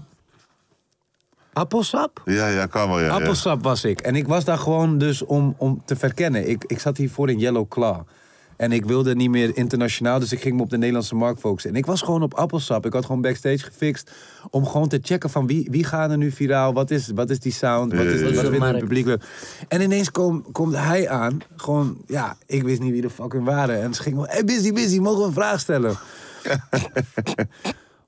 Speaker 4: Appelsap.
Speaker 3: Ja, ja, kan wel. Ja, ja.
Speaker 4: Appelsap was ik. En ik was daar gewoon dus om, om te verkennen. Ik, ik zat hiervoor in Yellow Claw. En ik wilde niet meer internationaal, dus ik ging me op de Nederlandse markt focussen. En ik was gewoon op Appelsap. Ik had gewoon backstage gefixt om gewoon te checken van wie, wie gaan er nu viraal? Wat is, wat is die sound? Wat is,
Speaker 3: ja,
Speaker 4: wat
Speaker 3: ja.
Speaker 4: is het
Speaker 6: Markt.
Speaker 4: publiek leuk? En ineens kom, komt hij aan. Gewoon, ja, ik wist niet wie de fucking waren. En ze gingen gewoon, hey busy, busy, mogen we een vraag stellen?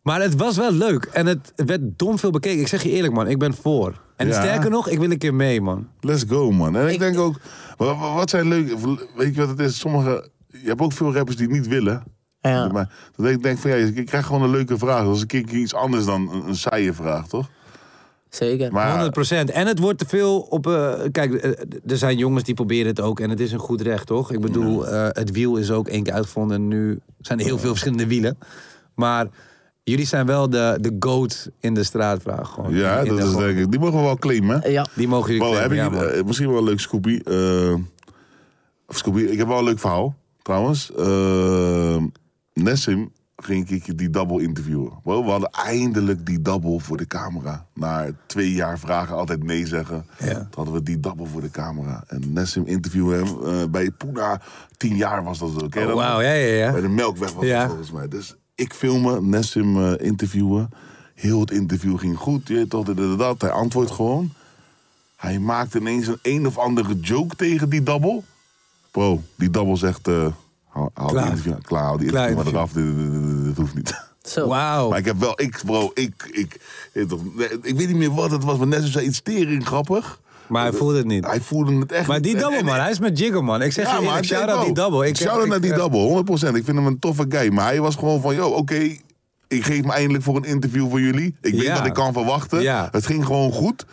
Speaker 4: Maar het was wel leuk en het werd dom veel bekeken. Ik zeg je eerlijk, man, ik ben voor. En
Speaker 3: Ja.
Speaker 4: sterker nog, ik wil een keer mee, man.
Speaker 3: Let's go, man. En ik, denk ook. wa- wa- Wat, zijn leuke. Weet je wat het is? Sommige. Je hebt ook veel rappers die het niet willen.
Speaker 6: Ja.
Speaker 3: Maar dat ik denk van ja, ik krijg gewoon een leuke vraag. Dat is een keer iets anders dan een, een saaie vraag, toch?
Speaker 6: Zeker.
Speaker 3: Maar
Speaker 4: 100%. En het wordt te veel op. eh, kijk, eh, d- er zijn jongens die proberen het ook. En het is een goed recht, toch? Ik bedoel, eh, het wiel is ook één keer uitgevonden. En nu zijn er heel veel verschillende wielen. Maar jullie zijn wel de, de goat in de straatvraag. Gewoon.
Speaker 3: ja,
Speaker 4: In- in
Speaker 3: dat
Speaker 4: de-
Speaker 3: is
Speaker 4: gewoon-
Speaker 3: denk ik. Die mogen we wel claimen. hè?
Speaker 6: Ja.
Speaker 4: Die mogen jullie
Speaker 3: Wow, heb
Speaker 4: claimen,
Speaker 3: ik,
Speaker 4: ja, man.
Speaker 3: eh, misschien wel een leuk Scooby. eh, of Scooby, ik heb wel een leuk verhaal, trouwens. Eh, Nessim ging ik een keertje die double interviewen. Wow, we hadden eindelijk die double voor de camera. Na twee jaar vragen altijd nee zeggen. Toen hadden we die double voor de camera. En Nessim interviewde hem eh, bij Poena. Tien jaar was dat zo. Ken je dat
Speaker 4: Oh,
Speaker 3: nog?
Speaker 4: wauw, ja, ja, ja.
Speaker 3: Bij de Melkweg was
Speaker 4: Ja.
Speaker 3: dat volgens mij. Dus ik filmen, Nessim eh, interviewen. Heel het interview ging goed. Je weet toch, dit, dit, dit, dat. Hij antwoordt gewoon. Hij maakt ineens een een of andere joke tegen die double. Bro, die double zegt... eh haal, haal
Speaker 4: Klaar.
Speaker 3: die interview, klaar, haal die
Speaker 4: Klaar Oh.
Speaker 3: interview maar eraf. Dit, dit, dit, dit, dit hoeft niet.
Speaker 6: Zo.
Speaker 4: Wauw.
Speaker 3: Maar ik heb wel, ik bro, ik, ik, ik, ik weet niet meer wat het was, maar Nessim zei iets tering grappig.
Speaker 4: Maar hij voelde het niet.
Speaker 3: Hij voelde het echt
Speaker 4: Maar
Speaker 3: niet.
Speaker 4: die
Speaker 3: En-
Speaker 4: double,
Speaker 3: Ah, eh, en-
Speaker 4: man. Hij is met Jiggo, man. Ik zeg je
Speaker 3: maar
Speaker 4: eerlijk,
Speaker 3: ik denk
Speaker 4: shout-out die
Speaker 3: ook.
Speaker 4: double. Ik,
Speaker 3: shout-out
Speaker 4: ik-
Speaker 3: naar die
Speaker 4: eh,
Speaker 3: double, 100%. Ik vind hem een toffe guy. Maar hij was gewoon van, yo, oké, ik geef me eindelijk voor een interview voor jullie. Ik weet
Speaker 4: Ja.
Speaker 3: wat ik kan verwachten.
Speaker 4: Ja.
Speaker 3: Het ging gewoon goed.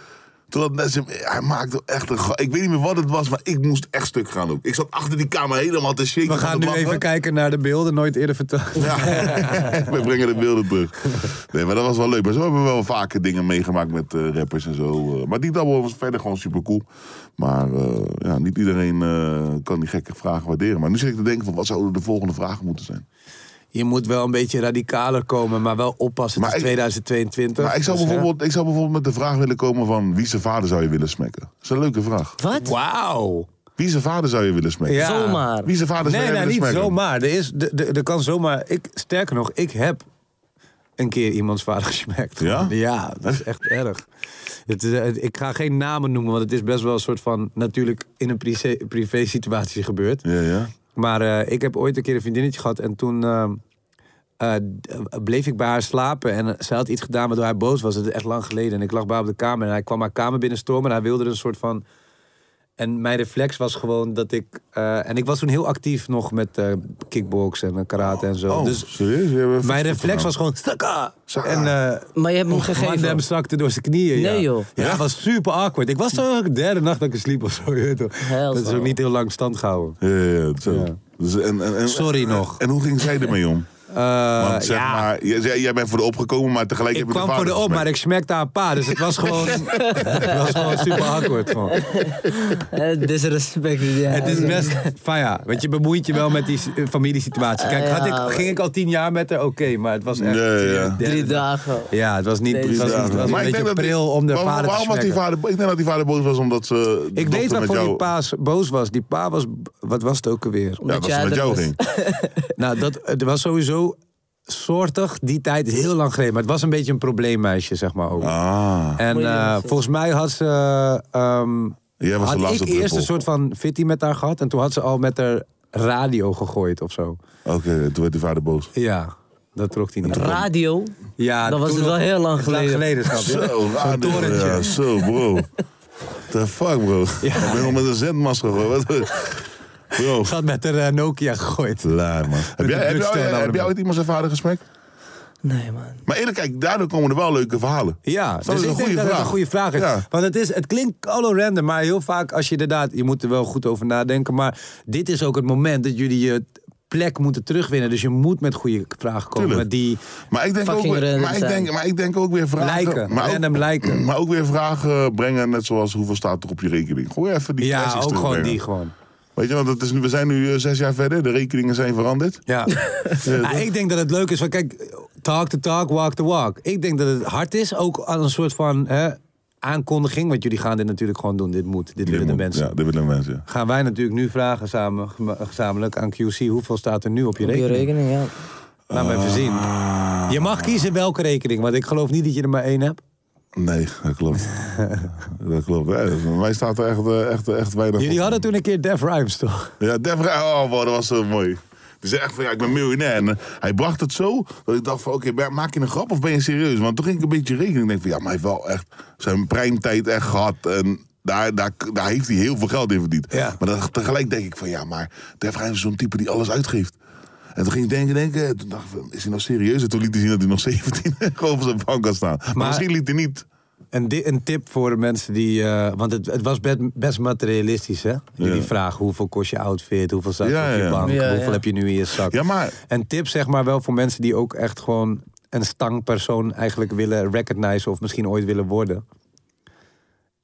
Speaker 3: Totdat Nessim, hij maakte echt een... ga- Ik weet niet meer wat het was, maar ik moest echt stuk gaan ook. Ik zat achter die kamer helemaal te shaken.
Speaker 4: We
Speaker 3: van
Speaker 4: gaan
Speaker 3: het
Speaker 4: nu
Speaker 3: lachen.
Speaker 4: even kijken naar de beelden, nooit eerder verteld.
Speaker 3: Ja, [LAUGHS] we brengen de beelden terug. Nee, maar dat was wel leuk. Maar zo hebben we wel vaker dingen meegemaakt met eh, rappers en zo. eh. maar die double was verder gewoon super cool. Maar eh, ja, niet iedereen eh, kan die gekke vragen waarderen. Maar nu zit ik te denken van wat zouden de volgende vragen moeten zijn.
Speaker 4: Je moet wel een beetje radicaler komen, maar wel oppassen.
Speaker 3: Maar
Speaker 4: Het is
Speaker 3: ik-
Speaker 4: 2022.
Speaker 3: Maar ik zou,
Speaker 4: dus, hè.
Speaker 3: bijvoorbeeld, ik zou bijvoorbeeld met de vraag willen komen van wie zijn vader zou je willen smekken? Dat is een leuke vraag.
Speaker 6: Wat?
Speaker 4: Wauw.
Speaker 3: Wie zijn vader zou je willen smekken?
Speaker 4: Ja.
Speaker 6: Zomaar.
Speaker 3: Wie zijn vader zou
Speaker 4: Nee,
Speaker 3: je
Speaker 4: nee,
Speaker 3: willen
Speaker 4: niet
Speaker 3: smekken?
Speaker 4: zomaar. Er, is, de de er kan zomaar. Ik, sterker nog, ik heb een keer iemands vader [LAUGHS] gesmekt.
Speaker 3: Ja?
Speaker 4: Ja, dat is echt erg. Het is, eh, ik ga geen namen noemen, want het is best wel een soort van. natuurlijk in een privé, privé situatie gebeurd.
Speaker 3: Ja, ja.
Speaker 4: Maar eh, ik heb ooit een keer een vriendinnetje gehad en toen. eh, eh, d- bleef ik bij haar slapen en zij had iets gedaan waardoor hij boos was. Het is echt lang geleden. En ik lag bij haar op de kamer en hij kwam haar kamer binnenstormen en hij wilde er een soort van en mijn reflex was gewoon dat ik. eh, en ik was toen heel actief nog met eh kickbox en eh, karate en zo.
Speaker 3: Oh,
Speaker 4: dus
Speaker 3: serieus? Je hebt-
Speaker 4: mijn reflex was gewoon. Stakka!
Speaker 3: Stakka.
Speaker 4: En, eh,
Speaker 6: Maar je hebt hem
Speaker 4: oeh,
Speaker 6: gegeven.
Speaker 4: man, hem zakte door zijn knieën.
Speaker 6: Nee,
Speaker 4: ja.
Speaker 6: joh.
Speaker 4: Ja, het was super awkward. Ik was toch de derde nacht dat ik sliep [LAUGHS] of zo. je weet toch.
Speaker 6: Hell,
Speaker 4: Dat is ook
Speaker 6: zo.
Speaker 4: niet heel lang stand gehouden.
Speaker 3: Ja, ja, ja, zo.
Speaker 4: Ja.
Speaker 3: Dus en, en, en-
Speaker 4: Sorry
Speaker 3: en-
Speaker 4: nog.
Speaker 3: En hoe ging zij ermee om?
Speaker 4: Eh,
Speaker 3: Want zeg
Speaker 4: ja.
Speaker 3: maar, jij, jij- jij bent voor de opgekomen, maar tegelijk
Speaker 4: Ik
Speaker 3: heb je
Speaker 4: kwam
Speaker 3: de
Speaker 4: voor
Speaker 3: vader
Speaker 4: de op, maar
Speaker 3: gesmeekt.
Speaker 4: ik smekte haar pa. Dus het was
Speaker 3: [LAUGHS]
Speaker 4: gewoon, het was gewoon super awkward. man.
Speaker 6: [LAUGHS] Eh, Disrespect. Ja.
Speaker 4: Het is best van ja, want je bemoeit je wel met die eh, familiesituatie. Kijk, had
Speaker 6: Ja,
Speaker 4: ik, ging ik al tien jaar met haar, oké, maar het was echt...
Speaker 3: Nee, ja.
Speaker 4: de-
Speaker 6: Drie dagen.
Speaker 4: Ja, het was niet
Speaker 6: Nee,
Speaker 4: het was,
Speaker 6: drie
Speaker 4: niet- het was een beetje pril om de
Speaker 3: waarom-
Speaker 4: vader te
Speaker 3: waarom was die
Speaker 4: smekken.
Speaker 3: vader, Ik denk dat die vader boos was omdat ze. de
Speaker 4: Ik
Speaker 3: dochter
Speaker 4: weet
Speaker 3: met
Speaker 4: waarvoor
Speaker 3: jou,
Speaker 4: die paas boos was. Die pa was, wat was het ook alweer?
Speaker 3: Ja, dat ze met jou ging.
Speaker 4: Nou, dat het was sowieso soortig die tijd, is heel lang geleden. Maar het was een beetje een probleemmeisje, zeg maar ook.
Speaker 3: Ah,
Speaker 4: En
Speaker 6: Moeilijk,
Speaker 4: eh,
Speaker 6: ja.
Speaker 4: volgens mij had ze. ehm,
Speaker 3: Jij was de
Speaker 4: had
Speaker 3: laatste
Speaker 4: ik eerst
Speaker 3: druppel.
Speaker 4: een soort van fitty met haar gehad. En toen had ze al met haar radio gegooid of zo.
Speaker 3: oké, toen werd die vader boos.
Speaker 4: Ja, dat trok hij niet.
Speaker 6: [LAUGHS] Radio.
Speaker 4: Ja,
Speaker 6: Dat was
Speaker 4: toen
Speaker 6: het wel
Speaker 4: nog-
Speaker 6: heel lang
Speaker 4: het is
Speaker 6: geleden.
Speaker 4: snap je?
Speaker 3: Zo, raar dit, ja, zo, bro. The fuck, bro. Ik ben nog met een zendmast gegooid. Wat- Bro,
Speaker 4: Ze had met haar eh, Nokia gegooid.
Speaker 3: klaar, man. Heb jij, heb, jij,
Speaker 4: drugstore
Speaker 3: heb jij ooit iemand zijn vader gesmekt?
Speaker 6: Nee, man.
Speaker 3: Maar eerlijk, kijk, daardoor komen er wel leuke verhalen.
Speaker 4: Ja,
Speaker 3: dat
Speaker 4: dus
Speaker 3: is een
Speaker 4: ik denk
Speaker 3: goede
Speaker 4: dat het
Speaker 3: vraag.
Speaker 4: een goede vraag is.
Speaker 3: Ja.
Speaker 4: Want het, is, het klinkt all random, maar heel vaak als je inderdaad... Je moet er wel goed over nadenken, maar dit is ook het moment dat jullie je plek moeten terugwinnen. Dus je moet met goede vragen komen.
Speaker 3: Tuurlijk.
Speaker 4: Die,
Speaker 3: Maar ik denk, ook,
Speaker 6: Fucking
Speaker 3: weer-
Speaker 6: random
Speaker 3: maar, ik
Speaker 6: zijn.
Speaker 3: denk, maar ik denk ook weer vragen.
Speaker 4: Lijken,
Speaker 3: maar ook-
Speaker 4: random lijken.
Speaker 3: Maar ook weer vragen brengen, net zoals hoeveel staat er op je rekening. Gooi even die
Speaker 4: ja,
Speaker 3: classics
Speaker 4: ook gewoon
Speaker 3: terugbrengen.
Speaker 4: die gewoon.
Speaker 3: Weet je, want het is, nu- we zijn nu eh, zes jaar verder, de rekeningen zijn veranderd.
Speaker 4: [LAUGHS] Ja. Ja, ik denk dat het leuk is van, kijk, talk the talk, walk the walk. Ik denk dat het hard is, ook aan een soort van hè, aankondiging. Want jullie gaan dit natuurlijk gewoon doen. Dit moet, dit, willen de
Speaker 3: Dit moet-
Speaker 4: mensen.
Speaker 3: Ja, dit willen de mensen.
Speaker 4: Gaan wij natuurlijk nu vragen samen, gem- gezamenlijk aan QC. Hoeveel staat er nu op je
Speaker 6: Op je
Speaker 4: rekening?
Speaker 6: rekening, ja.
Speaker 4: Laat me
Speaker 3: Ah.
Speaker 4: even zien. Je mag kiezen welke rekening, want ik geloof niet dat je er maar één hebt.
Speaker 3: Nee, dat
Speaker 4: [LAUGHS]
Speaker 3: klopt. dat klopt. Ja, voor mij staat er echt, eh, echt, echt weinig
Speaker 4: Jullie
Speaker 3: op.
Speaker 4: hadden toen een keer Def Rhymes, toch?
Speaker 3: Ja, Def Rij- oh, wow, dat was zo mooi. Die zei echt van, ja, ik ben miljonair. En eh, hij bracht het zo dat ik dacht van, oké, ben- maak je een grap of ben je serieus? Want toen ging ik een beetje rekening. Ik denk van, ja, maar hij heeft wel echt zijn primetijd echt gehad. En daar, daar, daar heeft hij heel veel geld in verdiend.
Speaker 4: Ja.
Speaker 3: Maar dan, tegelijk denk ik van, ja, maar Def Rij is zo'n type die alles uitgeeft. En toen ging ik denken, denken. En toen dacht ik van, is hij nou serieus? En toen liet hij zien dat hij nog [LAUGHS] 17 gewoon op zijn bank kan staan. Maar,
Speaker 4: Maar-
Speaker 3: misschien liet hij niet.
Speaker 4: Een, di- een tip voor de mensen die... eh, want het, het was best, best materialistisch, hè? Jullie
Speaker 3: Ja.
Speaker 4: vragen hoeveel kost je outfit, hoeveel staat er
Speaker 3: Ja,
Speaker 4: op je
Speaker 3: ja.
Speaker 4: bank,
Speaker 6: Ja,
Speaker 4: hoeveel
Speaker 6: ja.
Speaker 4: heb je nu in je zak.
Speaker 3: Ja, maar-
Speaker 4: Een tip zeg maar wel voor mensen die ook echt gewoon een stangpersoon eigenlijk willen recognizen of misschien ooit willen worden.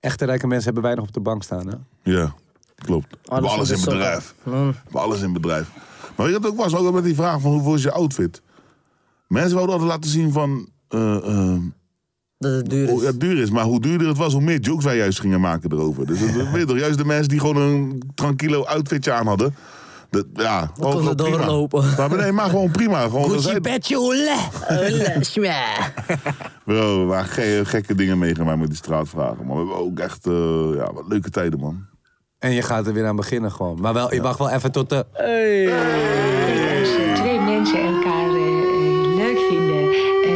Speaker 4: Echte rijke mensen hebben weinig op de bank staan, hè?
Speaker 3: Ja, klopt. We hebben
Speaker 6: op
Speaker 3: alles
Speaker 6: de
Speaker 3: in
Speaker 6: zak.
Speaker 3: bedrijf. We hebben alles in bedrijf. Maar weet je wat het ook was? Ook met die vraag van hoeveel is je outfit? Mensen wouden altijd laten zien van... eh, eh,
Speaker 6: Dat het duur
Speaker 3: hoe
Speaker 4: Oh,
Speaker 6: is.
Speaker 3: ja, het duur is. Maar hoe duurder het was, hoe meer jokes wij juist gingen maken erover. Dus dat weet je toch, juist de mensen die gewoon een tranquilo outfitje aan hadden. Dat, ja, dat gewoon,
Speaker 6: konden
Speaker 3: gewoon prima.
Speaker 6: doorlopen.
Speaker 3: Maar nee, maar gewoon prima. Gewoon, dat
Speaker 6: Gucci
Speaker 3: zij-
Speaker 6: petje, ole. Ole,
Speaker 4: [LAUGHS]
Speaker 6: sma.
Speaker 3: Bro, we waren ge- gekke dingen meegemaakt met die straatvragen. Maar we hebben ook echt eh, ja, wat leuke tijden, man.
Speaker 4: En je gaat er weer aan beginnen gewoon. Maar wel, je wacht wel even tot de...
Speaker 8: Als eh, twee mensen elkaar eh, eh, leuk vinden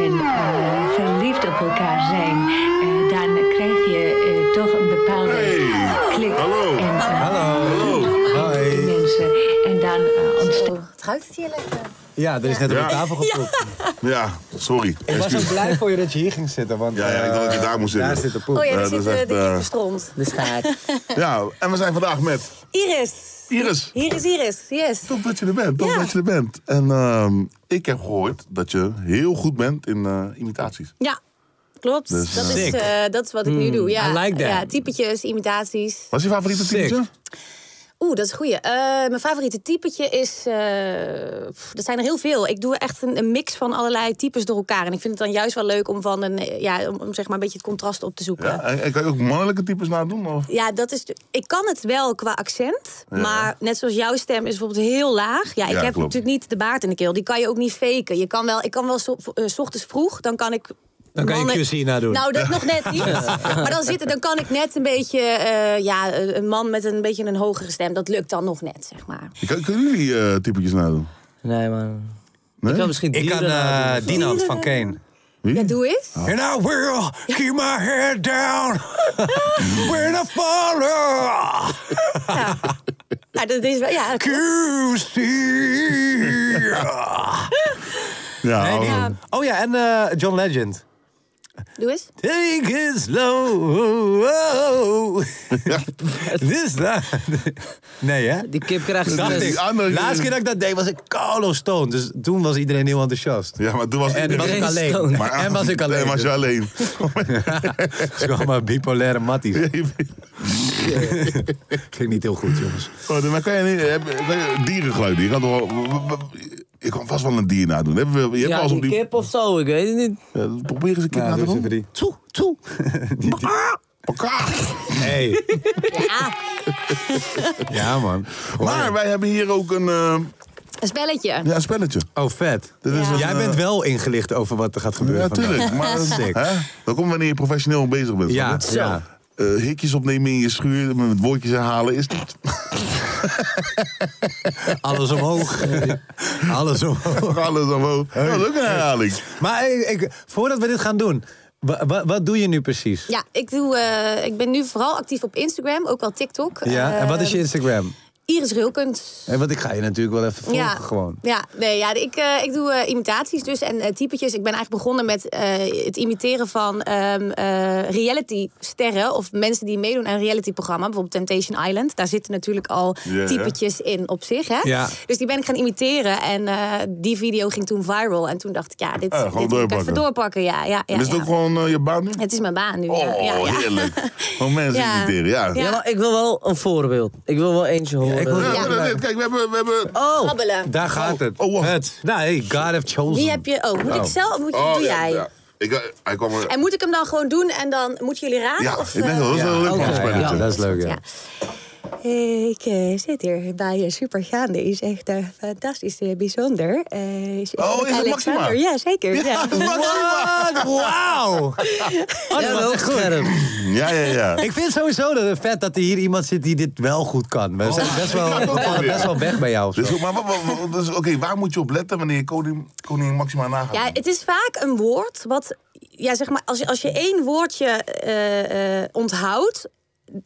Speaker 8: en eh, verliefd op elkaar zijn, eh, dan krijg je eh, toch een bepaalde
Speaker 3: Hey.
Speaker 8: klik.
Speaker 3: Hallo.
Speaker 8: En, eh,
Speaker 4: Hallo.
Speaker 8: die
Speaker 4: Hoi.
Speaker 8: mensen. En dan eh, ontstaat.
Speaker 9: Het ruikt het hier lekker.
Speaker 4: Ja, er is net op de
Speaker 3: Ja.
Speaker 4: tafel gepropt.
Speaker 3: Ja, sorry.
Speaker 4: Ik was ook
Speaker 3: Excuus.
Speaker 4: blij voor je dat je hier ging zitten, want...
Speaker 3: Ja, ja, ik dacht dat je daar moest
Speaker 4: eh,
Speaker 3: zitten.
Speaker 4: Daar zit de poep.
Speaker 9: Oh ja,
Speaker 3: dat
Speaker 9: daar
Speaker 3: is
Speaker 9: zit eh,
Speaker 3: echt,
Speaker 9: de
Speaker 3: eh,
Speaker 9: kippenstront.
Speaker 6: Dus ga ik.
Speaker 3: Ja, en we zijn vandaag met
Speaker 9: Iris.
Speaker 3: Iris.
Speaker 9: Hier is Iris, yes.
Speaker 3: Tof dat je er bent, tof
Speaker 9: Ja.
Speaker 3: dat je er bent. En ehm, ik heb gehoord dat je heel goed bent in eh, imitaties.
Speaker 9: Ja, klopt.
Speaker 3: Dus,
Speaker 9: dat, is,
Speaker 4: Sick.
Speaker 9: eh, dat is wat ik nu doe. Ja,
Speaker 4: Hmm, I like that.
Speaker 9: ja, typetjes, imitaties.
Speaker 3: Wat is je favoriete
Speaker 4: Sick.
Speaker 3: typetje?
Speaker 9: Oeh, dat is een goeie. Eh, mijn favoriete typetje is... eh pff, dat zijn er heel veel. Ik doe echt een, een mix van allerlei types door elkaar. En ik vind het dan juist wel leuk om, van een, eh, ja, om, om zeg maar een beetje het contrast op te zoeken.
Speaker 3: Ja, en, en kan je ook mannelijke types nadoen? Of?
Speaker 9: Ja, dat is. Ik kan het wel qua accent. Maar net zoals jouw stem is bijvoorbeeld heel laag. Ja, ik
Speaker 3: Ja,
Speaker 9: heb
Speaker 3: klopt.
Speaker 9: natuurlijk niet de baard in de keel. Die kan je ook niet faken. Je kan wel, ik kan wel zo, eh, 's ochtends vroeg, dan kan ik.
Speaker 4: Dan kan je
Speaker 9: mannen-
Speaker 4: QC nadoen.
Speaker 9: Nou, dat nog
Speaker 4: [LAUGHS]
Speaker 9: net niet. Maar dan, zit, er- dan kan ik net een beetje. eh, ja, een man met een beetje een hogere stem. Dat lukt dan nog net, zeg maar.
Speaker 3: Kan- Kunnen jullie eh typetjes nadoen?
Speaker 6: Nee, man.
Speaker 3: Nee?
Speaker 6: Ik kan misschien
Speaker 4: Ik kan
Speaker 6: dieren
Speaker 4: eh,
Speaker 6: nadoen.
Speaker 4: Dinant van Kane.
Speaker 3: Wie?
Speaker 9: Ja, doe eens.
Speaker 3: Ah.
Speaker 4: And I will keep my head down when I follow
Speaker 9: Ja. Ja, dat is wel. Ja,
Speaker 4: QC. Oh.
Speaker 3: Ja,
Speaker 4: Nee, die-
Speaker 3: oh,
Speaker 4: Oh ja, en eh, John Legend.
Speaker 9: doe eens.
Speaker 4: Take it [LAUGHS] slow. This time. Nee, hè?
Speaker 6: Die kip krijgt dus-
Speaker 4: Dacht
Speaker 6: stress.
Speaker 4: ik.
Speaker 3: Die andere-
Speaker 4: Laatste keer dat ik dat deed was ik Carlo Stone. Dus toen was iedereen heel enthousiast.
Speaker 3: ja, maar toen was
Speaker 4: En was ik
Speaker 3: iedereen-
Speaker 4: alleen.
Speaker 3: Maar-
Speaker 4: en was ik alleen.
Speaker 3: [LAUGHS] En was je alleen.
Speaker 4: [LAUGHS] Het is gewoon maar bipolaire matties. [LAUGHS] Ging niet heel goed, jongens.
Speaker 3: Oh, maar kan je niet... Heb, kan je- dierengeluiden, je kan toch wel... Je kan vast wel een dier nadoen. Heb je, je hebt wel
Speaker 6: Ja,
Speaker 3: eens
Speaker 6: die
Speaker 3: op die...
Speaker 6: kip of zo, ik weet het niet.
Speaker 3: Ja, probeer eens een keer
Speaker 4: Nou,
Speaker 3: na te
Speaker 4: doe eens
Speaker 3: doen.
Speaker 4: even die.
Speaker 3: Toe, toe. Elkaar.
Speaker 4: Ah! Hey.
Speaker 9: Ja,
Speaker 4: Ja, man.
Speaker 3: Maar wij hebben hier ook een, eh,
Speaker 9: een spelletje.
Speaker 3: ja, een spelletje.
Speaker 4: Oh, vet.
Speaker 3: Dit is
Speaker 9: Ja.
Speaker 3: een,
Speaker 4: Jij
Speaker 3: eh,
Speaker 4: bent wel ingelicht over wat er gaat gebeuren.
Speaker 3: Ja,
Speaker 4: vandaag.
Speaker 3: tuurlijk. Maar,
Speaker 4: Sick.
Speaker 3: hè? Dat komt wanneer je professioneel bezig bent.
Speaker 4: Ja,
Speaker 3: snap je?
Speaker 4: ja.
Speaker 3: Eh, hikjes opnemen in je schuur met woordjes herhalen is niet. [LAUGHS]
Speaker 4: Alles
Speaker 3: [LAUGHS]
Speaker 4: omhoog. Alles omhoog.
Speaker 3: Alles omhoog. Ja, Dat is ook een herhaling.
Speaker 4: Maar ik, ik- voordat we dit gaan doen, wa- wa- wat doe je nu precies?
Speaker 9: Ja, ik, doe, eh, ik ben nu vooral actief op Instagram, ook wel TikTok.
Speaker 4: Ja, en wat is
Speaker 9: Eh,
Speaker 4: je Instagram?
Speaker 9: Iris Rilkens.
Speaker 4: Eh, Want ik ga je natuurlijk wel even volgen
Speaker 9: Ja,
Speaker 4: gewoon.
Speaker 9: ja, nee, ja ik, eh, ik doe eh, imitaties dus en eh, typetjes. Ik ben eigenlijk begonnen met eh, het imiteren van ehm reality-sterren... of mensen die meedoen aan een reality-programma. Bijvoorbeeld Temptation Island. Daar zitten natuurlijk al
Speaker 3: Ja, ja.
Speaker 9: typetjes in op zich. Hè?
Speaker 4: Ja.
Speaker 9: Dus die ben ik gaan imiteren. En eh, die video ging toen viral. En toen dacht ik, ja, dit,
Speaker 3: Ah, gewoon
Speaker 9: dit moet ik
Speaker 3: doorpakken.
Speaker 9: even doorpakken. Ja, ja, ja,
Speaker 3: en is het
Speaker 9: ja.
Speaker 3: ook gewoon eh, je baan nu?
Speaker 9: Het is mijn baan nu. ja,
Speaker 3: Oh,
Speaker 9: ja, ja.
Speaker 3: heerlijk. Gewoon mensen
Speaker 9: [LAUGHS] Ja.
Speaker 3: irriteren, ja.
Speaker 9: Ja.
Speaker 6: Ja, maar ik wil wel een voorbeeld. Ik wil wel eentje horen.
Speaker 4: ik wil-
Speaker 3: Ja,
Speaker 9: Ja.
Speaker 3: maar dat- Kijk, we hebben... We hebben
Speaker 6: Oh,
Speaker 9: Krabbelen.
Speaker 4: Daar gaat het.
Speaker 3: oh, wacht.
Speaker 4: het. Nou, hey, God have chosen.
Speaker 3: [LAUGHS]
Speaker 9: Die heb je. Oh, moet ik zelf? Moet,
Speaker 3: oh,
Speaker 9: doe
Speaker 3: ja,
Speaker 9: jij?
Speaker 3: ja. Ik, eh, hij kwam er...
Speaker 9: En moet ik hem dan gewoon doen en dan moeten jullie raden?
Speaker 3: Ja,
Speaker 9: of,
Speaker 3: ik denk
Speaker 9: eh,
Speaker 3: wel, dat is wel een leuk
Speaker 6: oké,
Speaker 3: okay,
Speaker 4: Ja,
Speaker 3: spelletje.
Speaker 4: dat is leuk, ja.
Speaker 9: Ja. Ik eh, zit hier bij een supergaande. Is echt eh, fantastisch eh, bijzonder. Eh, is
Speaker 3: Oh, is het Maxima?
Speaker 9: Alexander. Ja, zeker. Ja.
Speaker 4: What? Wauw!
Speaker 6: oh dat was echt scherp.
Speaker 3: Ja, ja, ja.
Speaker 4: Ik vind sowieso dat het vet dat er hier iemand zit die dit wel goed kan. We, zijn best wel,
Speaker 3: Oh. [LAUGHS] Ja,
Speaker 4: we
Speaker 3: dat
Speaker 4: vallen
Speaker 3: weer.
Speaker 4: best wel weg bij jou. of zo.
Speaker 3: Dus, goed, maar wat- wat- wat- dus, oké, waar moet je op letten wanneer je koning, koning Maxima nagaat?
Speaker 9: Ja, het is vaak een woord wat... Ja, zeg maar, als je, als je één woordje eh, eh, onthoudt...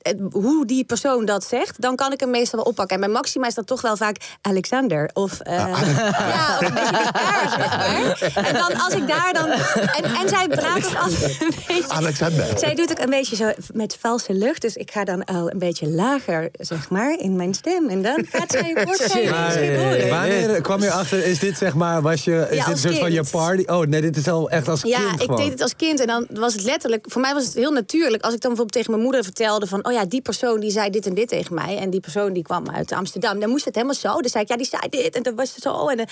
Speaker 9: het- hoe die persoon dat zegt, dan kan ik hem meestal wel oppakken. En bij Maxima is dat toch wel vaak Alexander. Of, eh, ja, of een beetje met haar, zeg maar. En dan als ik daar dan... En, en zij praat ook altijd een beetje...
Speaker 3: Alexander.
Speaker 9: Zij doet ook een beetje zo met valse lucht. Dus ik ga dan al een beetje lager, zeg maar, in mijn stem. En dan gaat zij een woord
Speaker 4: Maar, eh,
Speaker 9: geven.
Speaker 4: wanneer kwam je achter, is dit zeg maar, was je, is
Speaker 9: Ja,
Speaker 4: dit een
Speaker 9: als
Speaker 4: soort van je
Speaker 9: kind.
Speaker 4: party? Oh nee, dit is al echt als
Speaker 9: Ja,
Speaker 4: kind
Speaker 9: ik
Speaker 4: gewoon.
Speaker 9: deed het als kind en dan was het letterlijk... Voor mij was het heel natuurlijk. Als ik dan bijvoorbeeld tegen mijn moeder vertelde van, oh ja, die persoon die zei dit en dit tegen mij. En die persoon die kwam uit Amsterdam. Dan moest het helemaal zo. Dan zei ik, ja, die zei dit en dat was het zo. En, eh,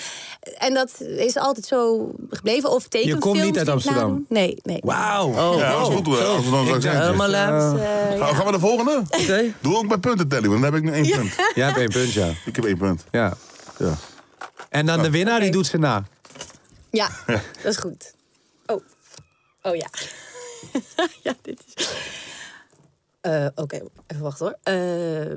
Speaker 9: en dat is altijd zo gebleven. Of tekenfilms.
Speaker 4: komt niet uit
Speaker 9: die ik
Speaker 4: Amsterdam?
Speaker 9: nadoen. Nee, nee.
Speaker 4: Wauw.
Speaker 6: Oh,
Speaker 3: Ja, dat
Speaker 6: oh.
Speaker 3: is goed hoor. Amsterdam zou ik zeggen.
Speaker 6: Helemaal laat.
Speaker 9: Eh,
Speaker 3: Nou, Gaan gaan we naar de volgende?
Speaker 6: Oké.
Speaker 3: Doe ook bij punten telling, want dan heb ik nu één punt.
Speaker 4: Jij hebt één punt, ja.
Speaker 3: Ik heb één punt.
Speaker 4: ja.
Speaker 3: Ja.
Speaker 4: En dan de winnaar, die doet ze na. [LAUGHS]
Speaker 9: ja, dat is goed. Oh, oh
Speaker 10: [LAUGHS]
Speaker 9: ja. ja, dit is... Eh, Oké, even wachten hoor. Eh,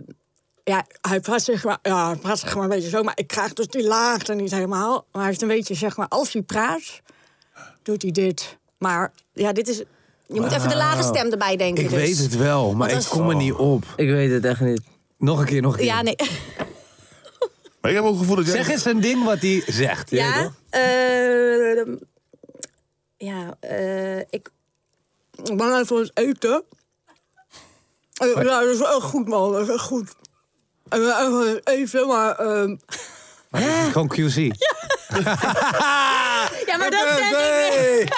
Speaker 10: Ja, hij praat zeg maar, ja, hij praat zeg maar een beetje zo, maar ik krijg dus die laagte niet helemaal. Maar hij heeft een beetje, zeg maar, als hij praat, doet hij dit. Maar
Speaker 9: ja, dit is... Je moet even de lage stem erbij denken.
Speaker 4: Ah. Ik
Speaker 9: dus.
Speaker 4: weet het wel, maar ik kom er niet op.
Speaker 6: Ik weet het echt niet.
Speaker 4: Nog een keer, nog een keer.
Speaker 9: Ja, nee.
Speaker 10: [LAUGHS]
Speaker 3: Maar ik heb ook het gevoel dat jij...
Speaker 4: Zeg eens een ding wat hij zegt. je weet
Speaker 9: Ja,
Speaker 4: toch?
Speaker 9: eh, ja eh, ik,
Speaker 10: ik ben even aan het eten. Eh, ja, dat is wel echt goed, man. Dat is echt goed. En ben even aan het eten, maar... ehm,
Speaker 4: Maar dit is gewoon QC.
Speaker 9: ja, maar dat zeg ik.
Speaker 4: Hey.